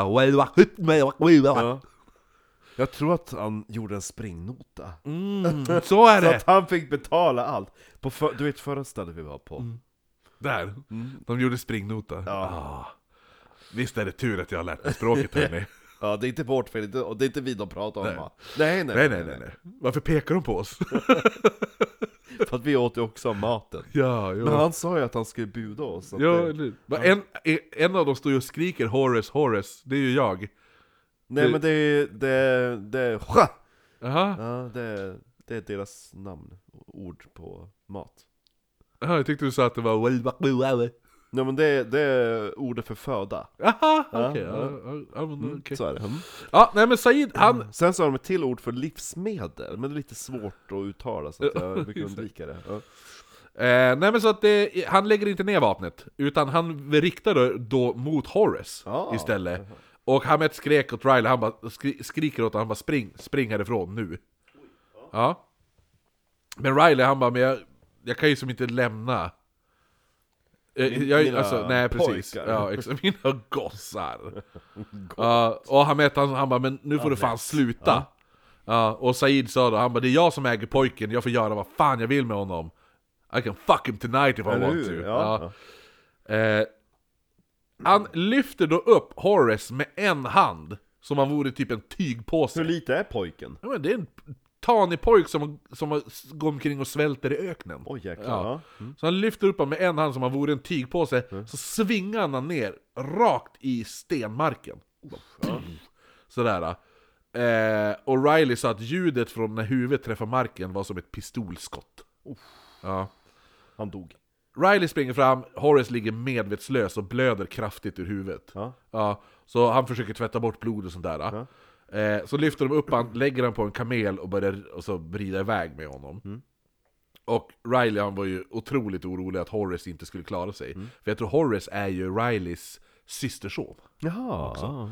B: jag tror att han gjorde en springnota
A: Mm, så är
B: Så
A: det!
B: att han fick betala allt! På för, du vet förra stället vi var på?
A: Mm. Där!
B: Mm.
A: De gjorde springnota. Ah. Visst är det tur att jag har lärt mig språket hörni.
B: Ja, det är inte vårt fel, det- och det är inte vi de pratar om va? Nej nej
A: nej, nej, nej, nej. Varför pekar de på oss?
B: För att vi åt ju också maten
A: ja,
B: Men
A: jo.
B: han sa ju att han skulle buda oss så att
A: Ja,
B: det-
A: eller hur? Va, en, e- en av dem står ju och skriker 'Horace, Horace' Det är ju jag.
B: Nej men det är det, det, det,
A: Jaha,
B: ja, det, det är deras namn, ord på mat
A: Jaha, jag tyckte du sa att det var 'Wawawawa'
B: Nej men det, det är ordet för föda,
A: Jaha,
B: Ja,
A: okej.
B: ja.
A: Ja, Mm. ja, ja, men okej.
B: så är det
A: Ja, nej men Said, han...
B: Sen så har de ett till ord för livsmedel, men det är lite svårt att uttala så att jag brukar undvika det ja.
A: Eh, nej men så att det, han lägger inte ner vapnet, utan han riktar då, då mot Horace
B: Ah.
A: istället. Och Hamet skrek åt Riley, han bara skri, skriker åt honom, han bara spring, spring härifrån nu. Ja. Men Riley han bara, men jag, jag kan ju som inte lämna. Eh,
B: Min-
A: jag,
B: mina
A: alltså, nej precis.
B: pojkar.
A: Ja, exakt, mina gossar. Ja, och Hamet han, han bara, men nu får du fan sluta. Ja, och Said sa då, han bara 'Det är jag som äger pojken, jag får göra vad fan jag vill med honom' I can fuck him tonight if I
B: Eller
A: want to.
B: hur?
A: Ja.
B: Ja.
A: Eh, han lyfter då upp Horace med en hand, som han vore typ en tygpåse.
B: Hur lite är pojken?
A: Ja, men det är en tanig pojk som, som har- går omkring och svälter i öknen.
B: Oj jäklar,
A: Ja.
B: ja.
A: Så han lyfter upp honom med en hand som han vore en tygpåse, så svingar han honom ner rakt i stenmarken. Sådär. Eh, och Riley sa att ljudet från när huvudet träffar marken var som ett pistolskott. Ja.
B: han dog
A: Riley springer fram, Horace ligger medvetslös och blöder kraftigt ur huvudet.
B: Ja.
A: så han försöker tvätta bort blod och sånt där. Eh, så lyfter de upp han, lägger han på en kamel och börjar och så rida iväg med honom. Och Riley han var ju otroligt orolig att Horace inte skulle klara sig. För jag tror Horace är ju Rileys systerson.
B: Jaha, också.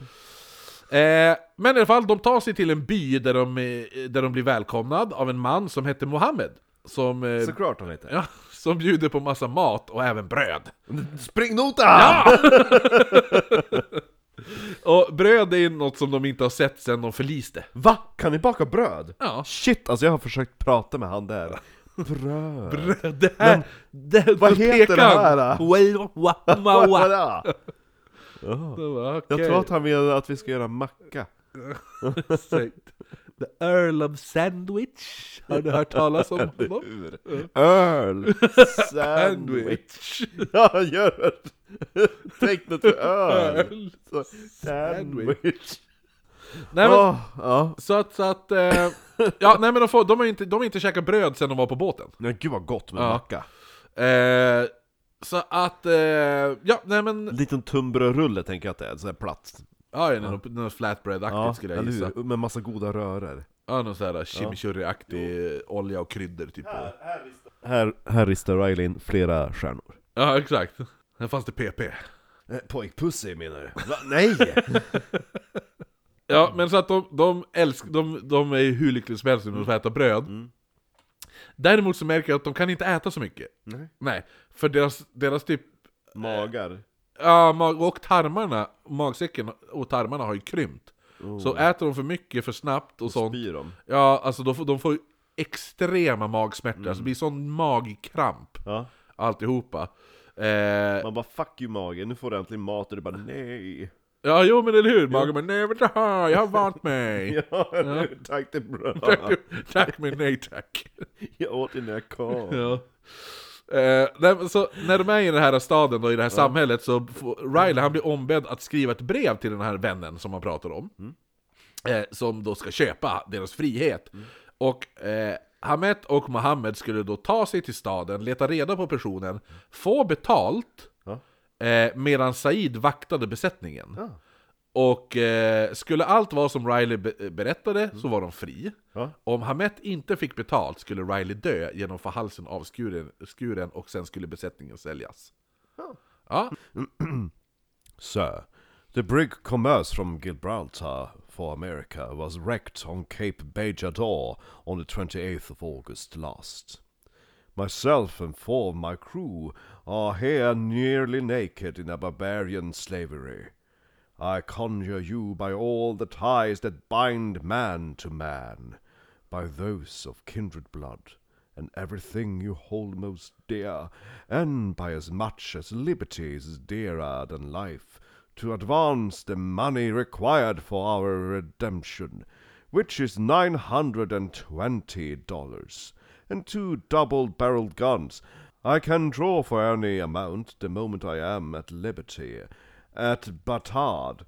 A: Eh, men i alla fall, de tar sig till en by där de, eh, där de blir välkomnad av en man som hette Mohammed. Som, eh,
B: såklart han heter
A: ja, som bjuder på massa mat och även bröd.
B: Springnota!
A: Och bröd är ju något som de inte har sett sen de förliste.
B: Va? Kan ni baka bröd?
A: Ja.
B: Shit, alltså jag har försökt prata med han där Bröd!
A: Bröd, det här... det,
B: vad heter
A: pekan.
B: det här, då?
A: Wai- wa- wa- ma- wa.
B: Voilà.
A: Det var
B: Jag
A: okej.
B: tror att han menar att vi ska göra macka
A: Exakt. The Earl of Sandwich. Har du hört talas om honom?
B: Ur. Öl! Sandwich!
A: Sandwich.
B: Ja, gör det! Tecknet för öl!
A: Earl.
B: Så, Sandwich!
A: Nej men,
B: Åh, ja.
A: så att, så att... Eh, ja, nej men de, får, de, har ju inte, de har inte käkat bröd sen de var på båten.
B: Men gud vad gott med
A: Ja.
B: macka!
A: Eh, så att, eh, ja nej men...
B: Liten tunnbrödsrulle tänker jag att det är, sådär platt
A: Ja, det är något, något flatbread-aktigt skulle jag
B: eller
A: gissa.
B: hur? Med massa goda röror
A: Ja, någon sån här chimichurri-aktig olja och kryddor typ. Ja,
B: Här, här ristar Riley in flera stjärnor
A: exakt. Här fanns det PP.
B: Eh, Pojkpussy menar du? Va? Nej!
A: Ja, men så att de, de älskar, de, de är ju hur lyckliga som helst när de får äta bröd.
B: Mm.
A: Däremot så märker jag att de kan inte äta så mycket.
B: Nej.
A: Nej, för deras, deras typ,
B: Magar.
A: ja, mag- och tarmarna, magsäcken och tarmarna har ju krympt. Så äter de för mycket, för snabbt och sånt,
B: Oh. Spyr de.
A: ja alltså de får, de får ju extrema magsmärtor, alltså det blir sån magkramp
B: Ja.
A: alltihopa. Eh,
B: Man bara 'fuck you magen, nu får du äntligen mat' och du bara 'nej'
A: Ja, jo men eller hur? Magen bara nej men det här, jag har vant mig.
B: Ja, nu, tack det är bra.
A: Tack, tack men nej tack.
B: Jag åt innan jag kom.
A: Ja. Eh, nej, men så, när de är i den här staden och i det här samhället så får Riley han blir ombedd att skriva ett brev till den här vännen som han pratar om. Eh, som då ska köpa deras frihet. Och eh, Hamet och Mohammed skulle då ta sig till staden, leta reda på personen, få betalt
B: Ja.
A: eh, medan Said vaktade besättningen.
B: Ja.
A: Och eh, skulle allt vara som Riley be- berättade så var de fri.
B: Mm. Ja.
A: Om Hamet inte fick betalt skulle Riley dö genom att få halsen avskuren skuren, och sen skulle besättningen säljas.
B: Ja.
A: Ja,
B: Sir, the brig Commerce from Gibraltar for America was wrecked on Cape Bajador on the 28th of August last. Myself and four of my crew are here nearly naked in a barbarian slavery. I conjure you by all the ties that bind man to man, by those of kindred blood, and everything you hold most dear, and by as much as liberty is dearer than life, to advance the money required for our redemption, which is nine hundred and twenty dollars, and two double barreled guns. I can draw for any amount the moment I am at liberty. At Batard,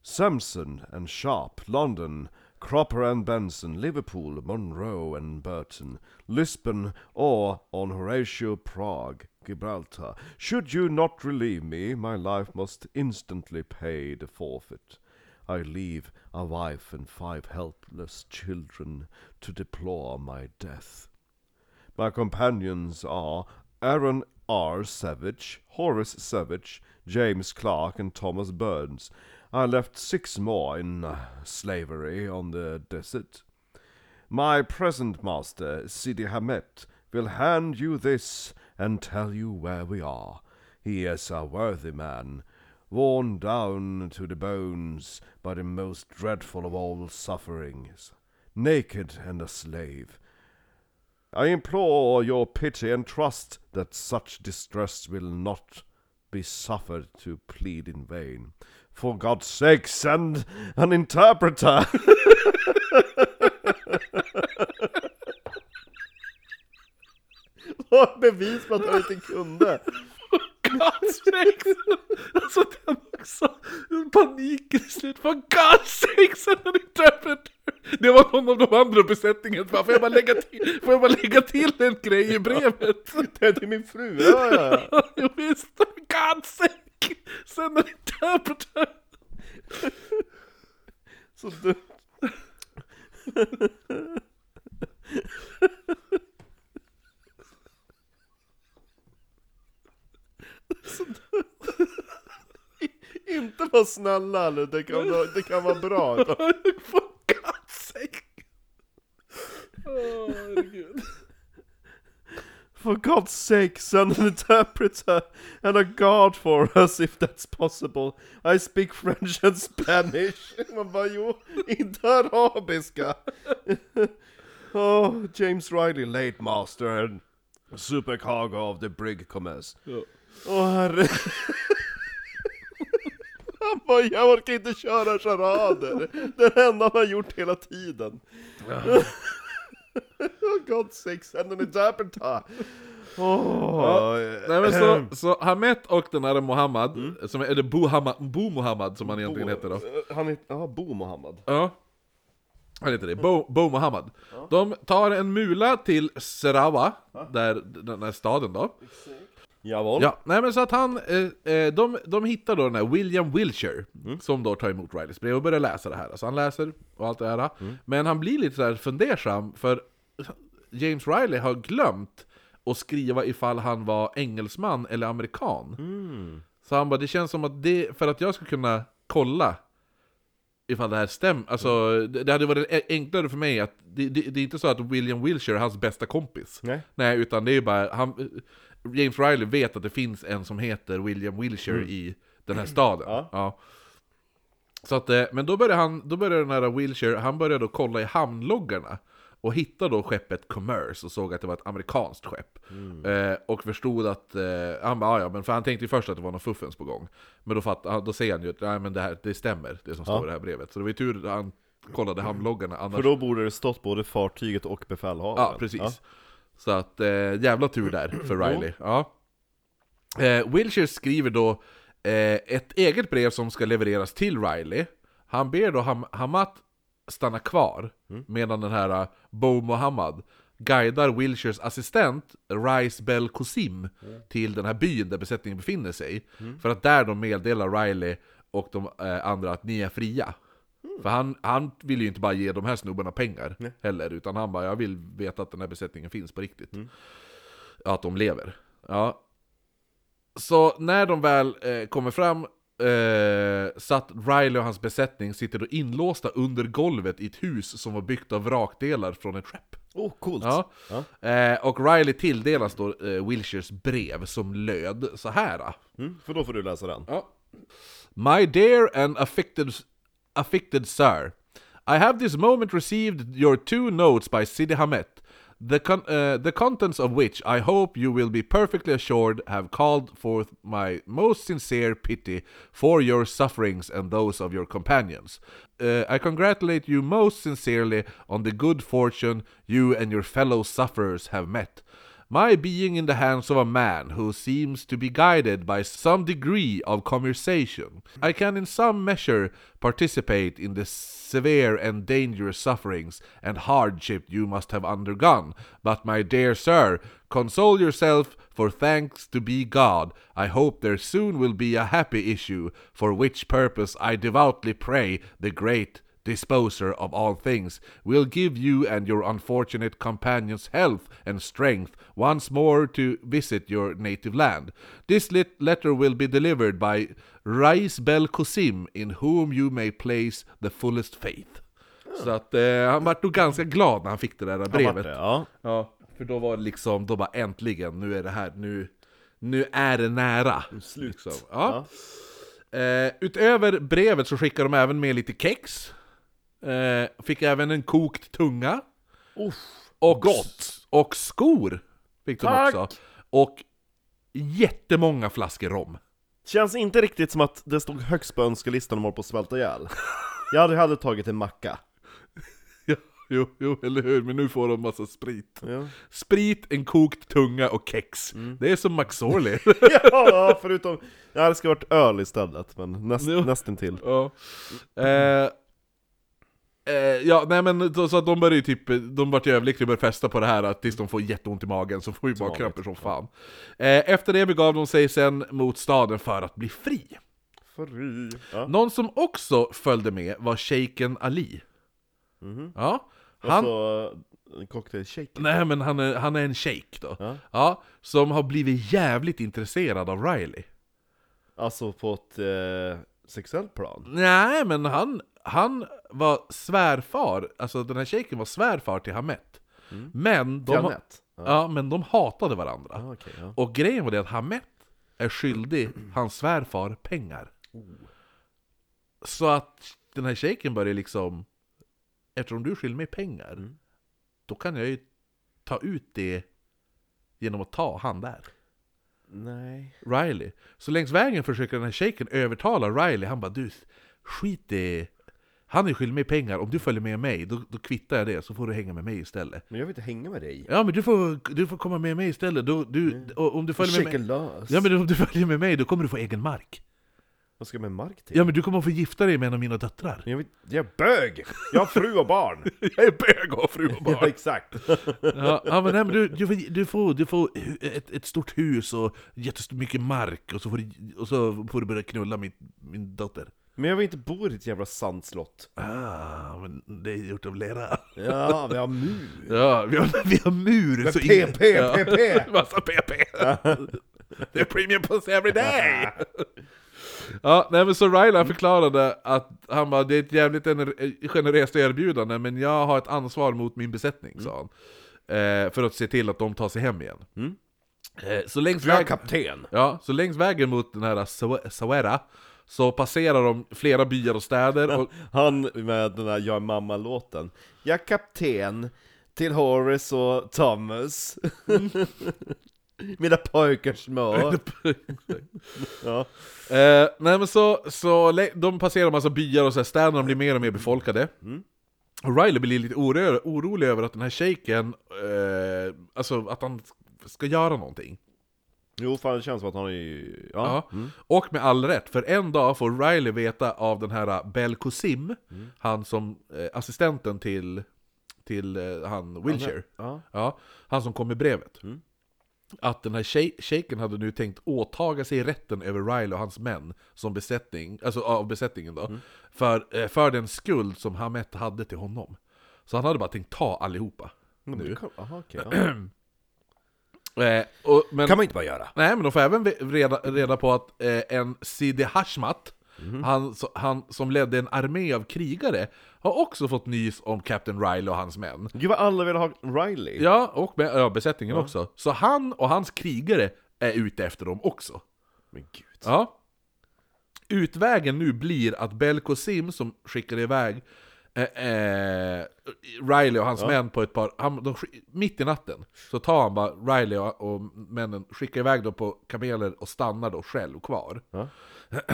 B: Sampson and Sharp, London, Cropper and Benson, Liverpool, Monroe and Burton, Lisbon, or on Horatio Prague, Gibraltar. Should you not relieve me, my life must instantly pay the forfeit. I leave a wife and five helpless children to deplore my death. My companions are Aaron R. Savage, Horace Savage, James Clark, and Thomas Burns. I left six more in uh, slavery on the desert. My present master, Sidi Hamet, will hand you this and tell you where we are. He is a worthy man, worn down to the bones by the most dreadful of all sufferings, naked and a slave. I implore your pity and trust that such distress will not be suffered to plead in vain. For God's sake, send an interpreter! Vad bevis på att han inte kunde!
A: God's sakes! Alltså den också, paniken i slut, för God's sakes and an interpreter! Det var någon av de andra besättningen, bara, får, jag bara lägga till, får jag bara lägga till en grej i brevet?
B: Det är till min fru! Ja, ja.
A: Jo, Visst, God's sake! Sen en interpreter!
B: Så dumt. Inte vara snälla nu, det kan, vara- det kan vara bra.
A: For God's sake! Åh, herregud.
B: For God's sake, send an interpreter and a guard for us if that's possible. I speak French and Spanish. Man bara, jo, inte arabiska. oh, James Riley, late master and supercargo of the brig commerce.
A: Ja.
B: Åh herre... Han bara, jag orkar inte köra charader. Det är det enda han har gjort hela tiden. oh, God sakes, and an interpreter. Åh,
A: Nej men
B: Ehm.
A: så, så Hamet och den här Mohammed,
B: Mm.
A: som är, eller Bo, Hamad, Bo Mohammed som han egentligen heter då.
B: Eh, Han heter, ja, Bo Mohammed.
A: Ja. Han heter det, Bo, Bo Mohammed. De tar en mula till Sarawa, där, den här staden då.
B: Jawohl.
A: Ja, nej men så att han, eh, eh, de, de hittar då den här William Wilshire, som då tar emot Rileys brev och börjar läsa det här. Alltså han läser och allt det här. Men han blir lite så här fundersam, för James Riley har glömt att skriva ifall han var engelsman eller amerikan. Så han bara, det känns som att det, för att jag ska kunna kolla ifall det här stämmer, alltså det, det hade varit e- enklare för mig att, det, det, det är inte så att William Wilshire är hans bästa kompis.
B: Nej.
A: Nej, utan det är ju bara, han, James Riley vet att det finns en som heter William Wilshire i den här staden.
B: Mm. Ja.
A: Så att, eh, men då börjar han, då börjar den här Wilshire, han börjar då kolla i hamnloggarna och hittar då skeppet Commerce och såg att det var ett amerikanskt skepp. Eh, och förstod att, eh, han bara, "Ah, ja men för han tänkte ju först att det var någon fuffens på gång. Men då, fatt, ah, då säger han ju att nej, men det, här, det stämmer, det som står i det här brevet. Så det var ju tur att han kollade hamnloggarna, annars
B: För då borde det stått både fartyget och befälhavaren.
A: Ja, precis. Så att eh, jävla tur där för Riley. Ja. Eh, Wilshire skriver då eh, ett eget brev som ska levereras till Riley. Han ber då Ham Hamat stanna kvar medan den här eh, Bo Mohammed guidar Wilshires assistent Rice Bell Cosim till den här byn där besättningen befinner sig. För att där de meddelar Riley och de eh, andra att ni är fria. För han, han vill ju inte bara ge de här snubbarna pengar heller, utan han bara jag vill veta att den här besättningen finns på riktigt. Ja, Att de lever. Ja, så när de väl eh, kommer fram eh, satt Riley och hans besättning sitter då inlåsta under golvet i ett hus som var byggt av vrakdelar från ett skepp.
B: Oh, coolt!
A: Ja.
B: Ja.
A: Eh, och Riley tilldelas då eh, Wilshires brev som löd så här. ah.
B: Mm, för då får du läsa den.
A: Ja. Oh. My dear and affected, affected sir, I have this moment received your two notes by Sidi Hamet, the, con- uh, the contents of which I hope you will be perfectly assured have called forth my most sincere pity for your sufferings and those of your companions. Uh, I congratulate you most sincerely on the good fortune you and your fellow sufferers have met. My being in the hands of a man who seems to be guided by some degree of conversation, I can in some measure participate in the severe and dangerous sufferings and hardship you must have undergone. But, my dear sir, console yourself, for thanks to be God, I hope there soon will be a happy issue, for which purpose I devoutly pray the great disposer of all things, will give you and your unfortunate companions health and strength once more to visit your native land. This lit- letter will be delivered by Rais Bel Kosim, in whom you may place the fullest faith. Så att eh, han var nog ganska glad när han fick det där
B: Ja,
A: brevet.
B: Ah. vart det, Ja.
A: Ja, för då var det liksom, då bara äntligen, nu är det här, nu, nu är det nära. Slut. Liksom. Ja. Eh, utöver brevet så skickade de även med lite kex. Eh, fick även en kokt tunga.
B: Uff.
A: Och, och skor fick de
B: Tack!
A: också. Och jättemånga flaskor rom.
B: Känns inte riktigt som att det stod högst på önskelistan om att hålla på att svälta ihjäl. Jag hade, hade tagit en macka.
A: Ja, jo, jo, eller hur? Men nu får de massa sprit.
B: Ja.
A: Sprit, en kokt tunga och kex. Det är som McSorley.
B: ja, förutom... Ja, det ska ha varit öl istället, men näst,
A: Jo.
B: nästintill.
A: Ja. Eh, eh, ja, nej men så, så att de börjar ju typ, de vart ju överlyckliga och började festa på det här att tills de får jätteont i magen så får ju bara
B: vanligt,
A: kramper som fan. Eh, efter det begav de sig sen mot staden för att bli fri.
B: Fri. Ja.
A: Någon som också följde med var shejken Ali. Ja, han,
B: Och så eh, en cocktailshake.
A: nej men han är, han är en shejk då.
B: Ja.
A: Ja, som har blivit jävligt intresserad av Riley.
B: Alltså på ett eh, sexuellt plan.
A: Nej, men han, han var svärfar, alltså den här shejken var svärfar till Hamet. Men, de, ha-
B: Janet. Mm. Ja.
A: ja, men de hatade varandra.
B: Ah, okej, ja.
A: Och grejen var det att Hamet är skyldig hans svärfar pengar.
B: Oh.
A: Så att den här shejken började liksom, eftersom du skyller mig pengar,
B: Mm.
A: då kan jag ju ta ut det genom att ta han där.
B: Nej.
A: Riley. Så längs vägen försöker den här shejken övertala Riley, han bara du, skit i... Han är skyldig mig pengar, om du följer med mig då, då kvittar jag det så får du hänga med mig istället.
B: Men jag vill inte hänga med dig.
A: Ja men du får, du får komma med mig istället, du, du, och om du följer med
B: Shake
A: mig...
B: lös.
A: Ja men om du följer med mig då kommer du få egen mark.
B: Vad ska jag med mark till?
A: Ja men du kommer få gifta dig med en av mina döttrar.
B: Jag, vill, jag är bög! Jag har fru och barn!
A: Jag är bög och fru och
B: ja, exakt.
A: Ja, ja men, nej, men du, du får, du får, du får hu- ett, ett stort hus och jättemycket mark och så får du, och så får du börja knulla min, min dotter.
B: Men jag vill inte bo i ditt jävla sandslott.
A: Ah, men det är gjort av lera.
B: Ja, vi har mur.
A: Ja, vi har, vi har mur! så ingen-
B: PP, PP!
A: Massa PP! Det är premium puss every day! ja, nej men så Rylan förklarade att han bara, det är ett jävligt ener- generöst erbjudande men jag har ett ansvar mot min besättning, sa han. Eh, för att se till att de tar sig hem igen. Eh, så längs
B: Jag är
A: vägen...
B: kapten!
A: Ja, så längs vägen mot den här Saw- Sawera så passerar de flera byar och städer och
B: Han med den där Jag är mamma-låten. Jag är kapten till Horace och Thomas. Mina pojkar små. Ja.
A: Eh, nej men så, så lä- de passerar massa byar och så här, städerna blir mer och mer befolkade.
B: Mm.
A: Och Riley blir lite oro, orolig över att den här shejken, eh, alltså att han ska göra någonting.
B: Jo, fan det känns som att han är ju... Ja. Mm.
A: Ja. Och med all rätt, för en dag får
B: Mm.
A: Riley veta av den här Bel Cosim, han som eh, assistenten eh, till till eh, han Wilshire.
B: Ja.
A: Ja, han som kom med brevet.
B: Mm.
A: Att den här shej- shejken hade nu tänkt åtaga sig rätten över Riley och hans män som besättning, alltså av besättningen
B: Mm.
A: då, för, eh, för den skuld som Hamet hade till honom. Så han hade bara tänkt ta allihopa.
B: Men
A: Nu.
B: det kom- Aha, okej, ja.
A: Eh, och, men,
B: Mm. kan man inte bara göra.
A: Nej, men de får även ve- reda, reda på att eh, en Sidi Hashmat,
B: Mhm.
A: han, så- han som ledde en armé av krigare, har också fått nys om Captain Riley och hans män.
B: Gud vad alla vill ha Riley.
A: Ja, och med, ja, besättningen också. Så han och hans krigare är ute efter dem också.
B: Men gud.
A: Ja. Utvägen nu blir att Belko Sim som skickade iväg eh, eh, Riley och hans män på ett par... Han, de, sk- mitt i natten så tar han bara Riley och, och männen, skickar iväg dem på kameler och stannar då själv kvar.
B: Ja.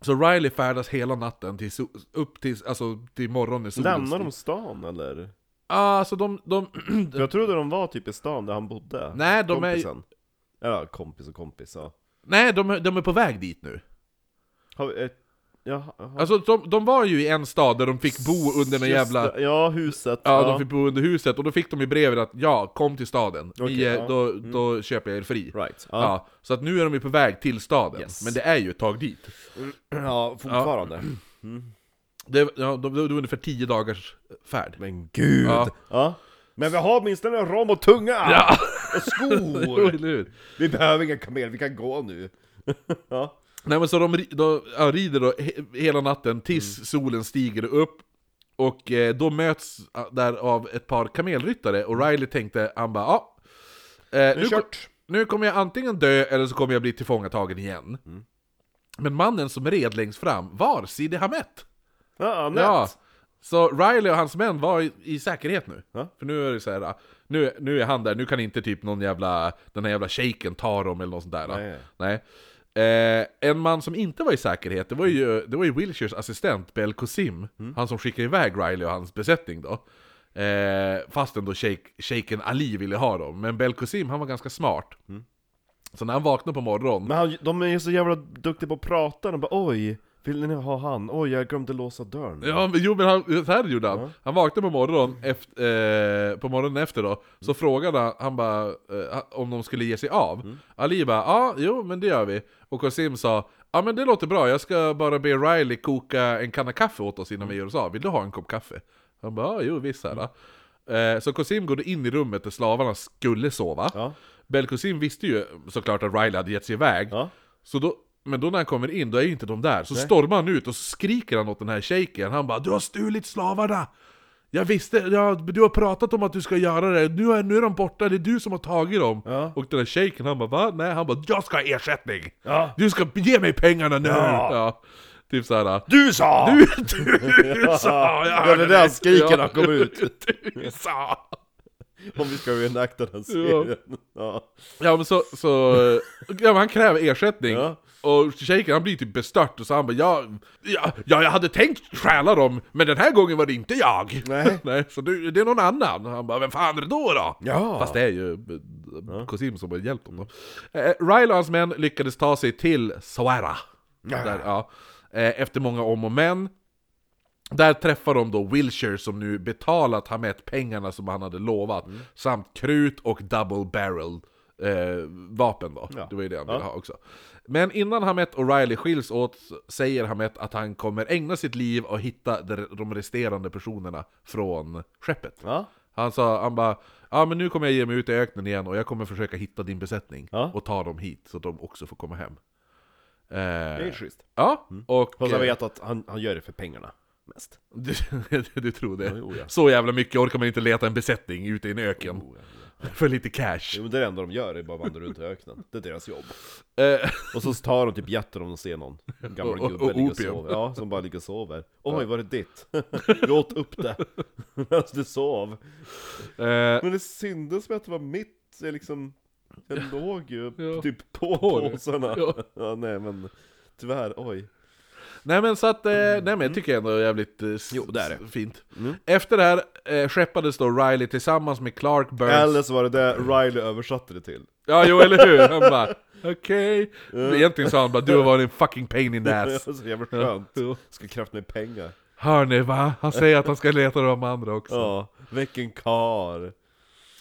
A: Så Riley färdas hela natten till, sol- upp till, alltså, till morgonen. i solens-
B: Lämnar de stan eller?
A: Ah, alltså de, de,
B: För Jag trodde de var typ i stan där han bodde.
A: Nej, de är-
B: Kompisen. är Ja, kompis och kompis, ja.
A: nej, de, de är på väg dit nu.
B: Har vi eh, ett... Ja, har...
A: Alltså de, de var ju i en stad där de fick bo under den
B: Just
A: jävla...
B: det, Ja, huset.
A: Ja, de fick bo under huset och då fick de ju brevet att ja, kom till staden,
B: Okej,
A: Ni, eh,
B: ja. Mm.
A: då, då köper jag er fri.
B: Right.
A: Ja.
B: Ja,
A: så att nu är de ju på väg till staden,
B: Yes.
A: men det är ju ett tag dit.
B: ja fortfarande.
A: Det, ja, det, det var ungefär tio dagars färd.
B: Men gud!
A: Ja.
B: Ja. Men vi har åtminstone ram och tunga!
A: Ja.
B: Och
A: Jo, eller
B: skor!
A: hur?
B: vi behöver inga kamel, vi kan gå nu. ja.
A: Nej men så de, ri- då, ja, rider då he, hela natten tills solen stiger upp Och eh, då möts ah, där av ett par kamelryttare och Riley tänkte, han bara ja eh, nu, kom,
B: kört.
A: nu kommer jag antingen dö eller så kommer jag bli tillfångatagen igen Men mannen som red längst fram var Sidi Hamet!
B: Ja, nät.
A: Ja, så Riley och hans män var i, i säkerhet nu.
B: Ja.
A: För nu är det så här, ah, nu, nu är han där, nu kan inte typ någon jävla, den här jävla shaken ta dem eller något sånt där. ah.
B: Nej.
A: Nej. Eh, en man som inte var i säkerhet, det var ju, det var ju Wilshires assistent Bel Kosim,
B: Mm.
A: han som skickade iväg Riley och hans besättning då. Eh, fastän då shake, shaken Ali ville ha dem, men Bel Kosim han var ganska smart.
B: Mm.
A: Så när han vaknade på morgonen,
B: Men han, de är ju så jävla duktiga på att prata, de bara oj, vill ni ha han? Oj, jag glömde låsa dörren.
A: Ja, men, jo men han, så här gjorde han. Han vaknade på morgonen efter, eh, på morgonen efter då, så
B: Mm.
A: frågade han, han bara, eh, om de skulle ge sig av.
B: Mm.
A: Ali bara, ja, jo men det gör vi. Och Qasim sa, ja men det låter bra, jag ska bara be Riley koka en kanna kaffe åt oss innan
B: Mm.
A: vi gör oss av. Vill du ha en kopp kaffe? Han bara, ja, jo visst. Här, då." eh, så Qasim går då in i rummet där slavarna skulle sova.
B: Mm. Ja.
A: Belkosim visste ju såklart att Riley hade gett sig iväg.
B: Ja.
A: Så då, men då när han kommer in, då är ju inte de där. Så stormar han ut och så skriker han åt den här shejken. Han bara 'Du har stulit slavarna! Jag visste, ja, du har pratat om att du ska göra det, nu är, nu är de borta, det är du som har tagit dem!
B: Ja.
A: Och den där shejken han bara 'Va?' Nej, han bara 'Jag ska ha ersättning!
B: Ja.
A: Du ska ge mig pengarna nu!'
B: Ja.
A: Typ såhär.
B: Du sa!
A: Du, du sa! Jag
B: Ja, det där
A: dig.
B: skriken har kommit ut.
A: Du sa!
B: Om vi ska reenacta den serien. Ja. Ja.
A: Ja men så, så eh, ja, men han kräver ersättning
B: Ja.
A: Och shejken han blir typ bestört och så han bara ja, ja, ja, jag hade tänkt stjäla dem Men den här gången var det inte jag
B: Nej.
A: så du, det är någon annan Och Han bara vem fan är det då då?
B: Ja.
A: Fast det är ju Kosim som har hjälpt honom eh, Ryle och hans män lyckades ta sig till Soara
B: Ja.
A: Där, ja. eh, Efter många om och men där träffar de då Wilshire som nu betalat Hamet pengarna som han hade lovat
B: Mm.
A: Samt krut och double barrel eh, vapen då,
B: Ja.
A: det var ju det han
B: Ja.
A: ville ha också Men innan Hamet och Riley skiljs åt säger Hamet att han kommer ägna sitt liv och hitta de- de resterande personerna från skeppet
B: Ja.
A: Han sa, han bara Ja men nu kommer jag ge mig ut i öknen igen och jag kommer försöka hitta din besättning
B: Ja.
A: och ta dem hit så att de också får komma hem
B: Det är
A: eh,
B: schysst.
A: Ja, och...
B: Fast
A: eh,
B: jag vet att han, han gör det för pengarna. Mest.
A: Du, du tror det?
B: Ja, jo, ja.
A: Så jävla mycket orkar man inte leta en besättning ute i en öken för lite cash.
B: Jo, men det är det enda de gör, det är bara vandra runt i öknen. Det är deras jobb.
A: Eh,
B: Och så tar de typ jätter om de ser någon gammal
A: Och- och-
B: gubbe
A: och
B: ligga och
A: opium.
B: sover. Ja, som bara ligger och sover. Oj, var det ditt? Vi åt upp det. Medan du sov.
A: eh,
B: Men det syndes med att det var mitt, jag liksom... Jag låg ju
A: Ja.
B: typ på
A: På det.
B: påsarna.
A: Ja.
B: Ja. nej men, tyvärr, oj.
A: nej men så att, eh, nej men jag tycker ändå är jävligt eh, s-
B: Jo, det är det.
A: s- fint.
B: Mm.
A: Efter det här eh, skeppades då Riley tillsammans med Clark Burns.
B: Eller så var det det Riley översatte det till.
A: Ja, jo eller hur? Han bara, okej.
B: Mm.
A: Egentligen sa han bara, du har varit en fucking pain in the ass.
B: så jävla skönt.
A: Jo.
B: Ska kräfta mig pengar.
A: Hör ni va? Han säger att han ska leta de andra också.
B: Ja, vilken kar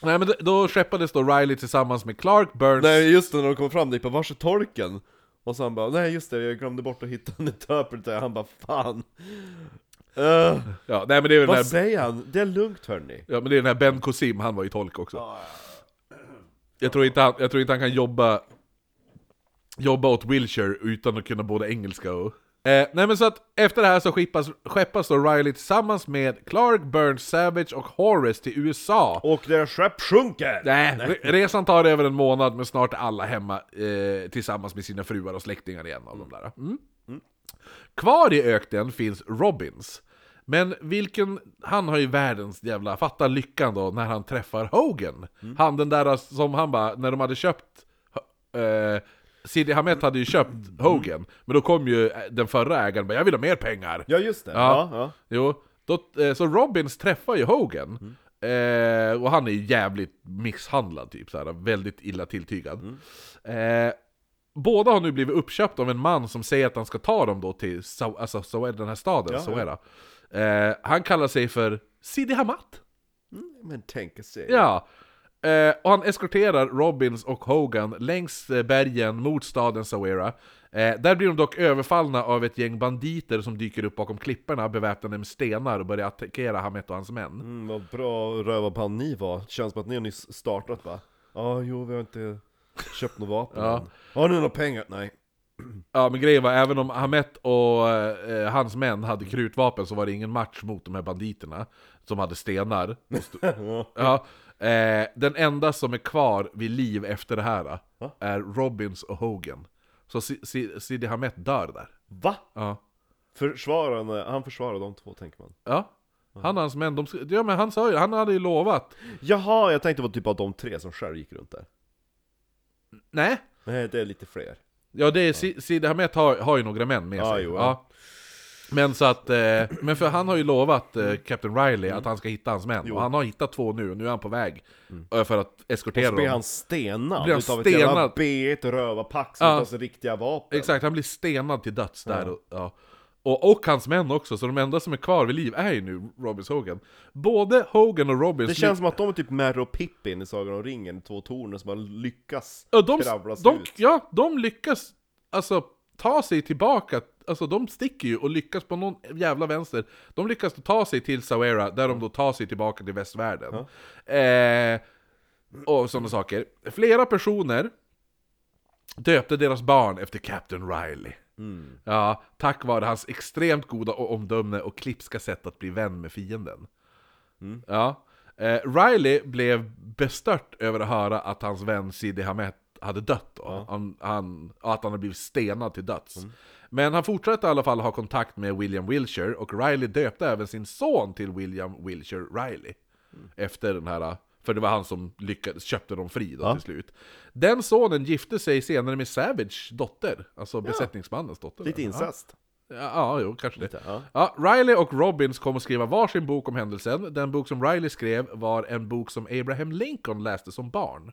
A: Nej men då- då skeppades då Riley tillsammans med Clark, Burns...
B: Nej just det, när de kom fram dit, bara vars är torken? Och så han bara, nej just det, jag glömde bort att hitta en interpreter, han bara fan Eh,
A: Ja, nej men det är väl den
B: Vad
A: här,
B: säger han? Det är lugnt hörni
A: ja, men det är den här Ben Cosim, han var ju tolk också. Jag tror inte han, jag tror inte han kan jobba, jobba åt Wilshire utan att kunna både engelska och... Eh, nej men så att efter det här så skippas, skeppas då Riley tillsammans med Clark, Burns, Savage och Horace till USA.
B: Och deras skepp sjunker!
A: Nej, re- resan tar över en månad men snart är alla hemma eh, tillsammans med sina fruar och släktingar igen av de där. Mm. Kvar i öknen finns Robbins. Men vilken, han har ju världens jävla, fatta lyckan då när han träffar Hogan. Han den där som han bara, när de hade köpt, eh, Sidi Hamet hade ju köpt Hogan. Men då kom ju eh, den förra ägaren bara, jag vill ha mer pengar.
B: Ja just det, ja,
A: Ja.
B: ja.
A: Jo, då, eh, så Robbins träffar ju Hogan. Eh, och han är ju jävligt misshandlad, typ så här, väldigt illa tilltygad. Eh, båda har nu blivit uppköpta av en man som säger att han ska ta dem då till Sau- alltså, Sau- den här staden,
B: Ja,
A: Sauera. Eh, han kallar sig för Sidi Hamat.
B: Men tänka sig
A: Ja. Eh, och han eskorterar Robbins och Hogan längs eh, bergen mot staden Sawera. Eh, där blir de dock överfallna av ett gäng banditer som dyker upp bakom klipporna beväpnade med stenar och börjar attackera Hamet och hans män.
B: Mm, vad bra rövarband ni var, känns som att ni har nyss startat va? Ja, jo vi har inte köpt några vapen
A: Ja.
B: än. Har ni några pengar? Nej
A: Ja men grejen var, även om Hamet och eh, hans män hade krutvapen så var det ingen match mot de här banditerna som hade stenar. Och sto- ja. eh, den enda som är kvar vid liv efter det här eh, är Robbins och Hogan. Så Si- Si- Sidi Hamet dör där.
B: Va?
A: Ja.
B: Försvararna, han försvarar de två tänker man
A: Ja. Han och hans män, de, sk- ja, men han, sa ju, han hade ju lovat.
B: Jaha, jag tänkte på typ av de tre som själv gick runt där
A: Nej.
B: Nej, det är lite fler
A: Ja, det är, Si- Sidi Hamet har, har ju några män med
B: Ja,
A: sig.
B: jo, ja.
A: ja. Men så att, eh, men för han har ju lovat eh, Captain Riley att han ska hitta hans män.
B: Mm. Jo. Mm.
A: Och han har hittat två nu, och nu är han på väg eh, för att eskortera
B: Så blir
A: dem.
B: han stenad
A: Blir han
B: utav ett jävla
A: stenad?
B: bet rövarpack som
A: Ja.
B: inte har så riktiga vapen
A: Exakt, han blir stenad till döds där. Och, ja. och, och hans män också, så de enda som är kvar vid liv är ju nu Robbins Hogan. Både Hogan och Robbins...
B: Det känns som att de är typ Merry och Pippin i Sagan om ringen, två tornen som bara lyckas
A: Ja, de,
B: kravlas
A: de,
B: ut
A: ja, de lyckas alltså, ta sig tillbaka, alltså de sticker ju och lyckas på någon jävla vänster. De lyckas ta sig till Sawera, där de då tar sig tillbaka till västvärlden. Eh, och sådana saker. Flera personer döpte deras barn efter Captain Riley. Ja, tack vare hans extremt goda o- omdöme och klipska sätt att bli vän med fienden. Ja. Eh, Riley blev bestört över att höra att hans vän Sidi Hamet hade dött då. Han, han, och att han hade blivit stenad till döds.
B: Mm.
A: Men han fortsatte i alla fall ha kontakt med William Wilshire och Riley döpte även sin son till William Wilshire Riley.
B: Mm.
A: Efter den här, för det var han som lyckades, köpte dem fri då till slut. Den sonen gifte sig senare med Savage dotter, alltså besättningsmannens dotter.
B: Lite
A: Ja.
B: incest
A: Ja, ja jo, kanske det.
B: ja.
A: Ja, Riley och Robbins kom att skriva varsin bok om händelsen. Den bok som Riley skrev var en bok som Abraham Lincoln läste som barn.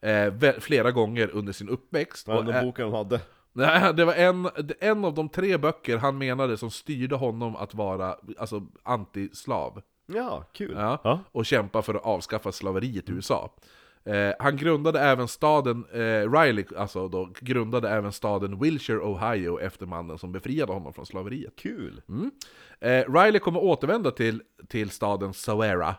A: Eh, vä- flera gånger under sin uppväxt.
B: Men
A: Och,
B: den
A: eh,
B: boken de hade
A: nej, det var en, en av de tre böcker han menade som styrde honom att vara alltså, antislav.
B: Ja, kul
A: Ja,
B: Ja.
A: Och kämpa för att avskaffa slaveriet i USA. Eh, han grundade även staden, eh, Riley alltså då, grundade även staden Wilshire, Ohio efter mannen som befriade honom från slaveriet.
B: Kul!
A: Mm. Eh, Riley kommer återvända till, till staden Sawera,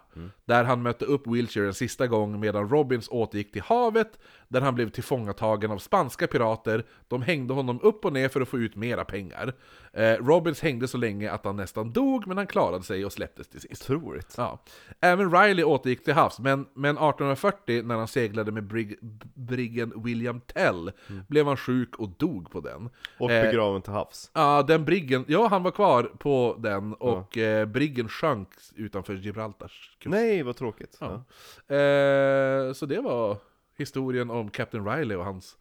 A: där han mötte upp Wilshire en sista gång medan Robbins återgick till havet, där han blev tillfångatagen av spanska pirater. De hängde honom upp och ner för att få ut mera pengar. Eh, Robbins hängde så länge att han nästan dog, men han klarade sig och släpptes till sist.
B: Otroligt
A: Ja. Även Riley återgick till havs, men, men 1840 när han seglade med brig, briggen William Tell blev han sjuk och dog på den.
B: Och
A: Eh,
B: begraven till havs
A: Ja, den briggen, ja han var kvar på den och eh, briggen sjönk utanför Gibraltars kust.
B: Nej, vad tråkigt ja.
A: Eh, så det var historien om Captain Riley och hans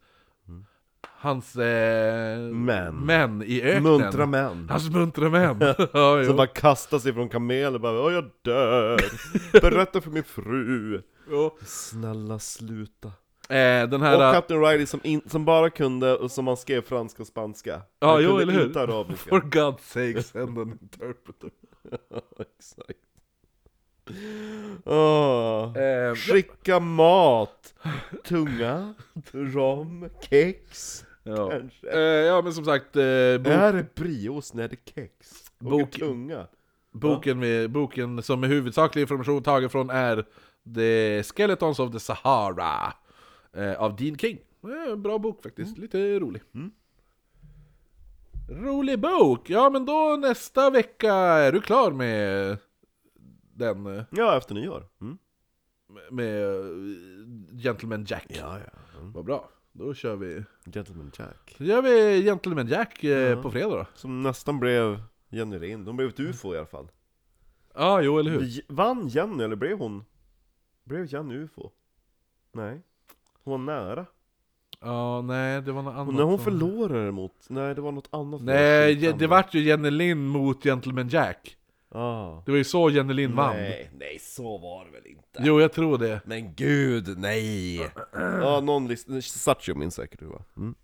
B: Mm.
A: Hans eh,
B: Män.
A: män i öknen.
B: Muntra män.
A: Hans muntra män. ja,
B: Som
A: jo.
B: bara kastar sig från kamelen och bara Åh jag dör! Berätta för min fru!
A: Jo.
B: Snälla sluta
A: Eh, den här...
B: Och Captain Riley som, in, som bara kunde, och som han skrev franska och spanska.
A: Ja,
B: han
A: jo,
B: kunde
A: eller hur?
B: inte arabiska.
A: For God's sake, send an interpreter.
B: Exakt. Åh.
A: Eh,
B: Skicka mat, tunga, rom, kex.
A: ja.
B: Kanske.
A: Eh, ja, men som sagt, eh, bo-
B: Är det brieost när det är kex? Och
A: Bok-
B: tunga.
A: boken, med, boken som är huvudsaklig information tagen från är The Skeletons of the Sahara eh, av Dean King. Eh, bra bok faktiskt,
B: Mm.
A: lite rolig. Rolig bok! Ja, men då nästa vecka är du klar med den, eh,
B: Ja, efter nyår. Mm.
A: med eh, Gentleman Jack.
B: Ja, ja. Mm.
A: Vad bra, då kör vi.
B: Gentleman Jack.
A: Då gör vi Gentleman Jack eh, på fredag då.
B: Som nästan blev Jenny Lind. Hon blev ett ufo i alla fall.
A: Ja, jo, eller hur?
B: J- Vann Jenny, eller blev hon? Blev Jenny ufo? Nej. Hon var nära.
A: Ja, nej, det var något annat.
B: Och när hon
A: som-
B: förlorade mot... Nej, det var något annat.
A: Nej,
B: Skit
A: det, det
B: annat.
A: vart ju Jenny Lind mot Gentleman Jack.
B: Ah.
A: Det var ju så Jenny Lind vann.
B: Nej, nej, så var det väl inte.
A: Jo, jag tror det.
B: Men gud, nej! ja, någon lyssnade, Satcho minns säkert hur det var. Mm.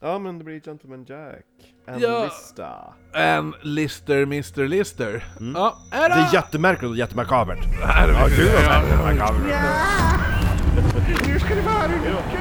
B: Ja men det blir Gentleman Jack, en
A: Ja.
B: lista.
A: En Lister Mr Lister. Ja, är
B: Det
A: det!
B: är jättemärkligt och jättemakabert.
C: Ja, nu ska det vara en lycka!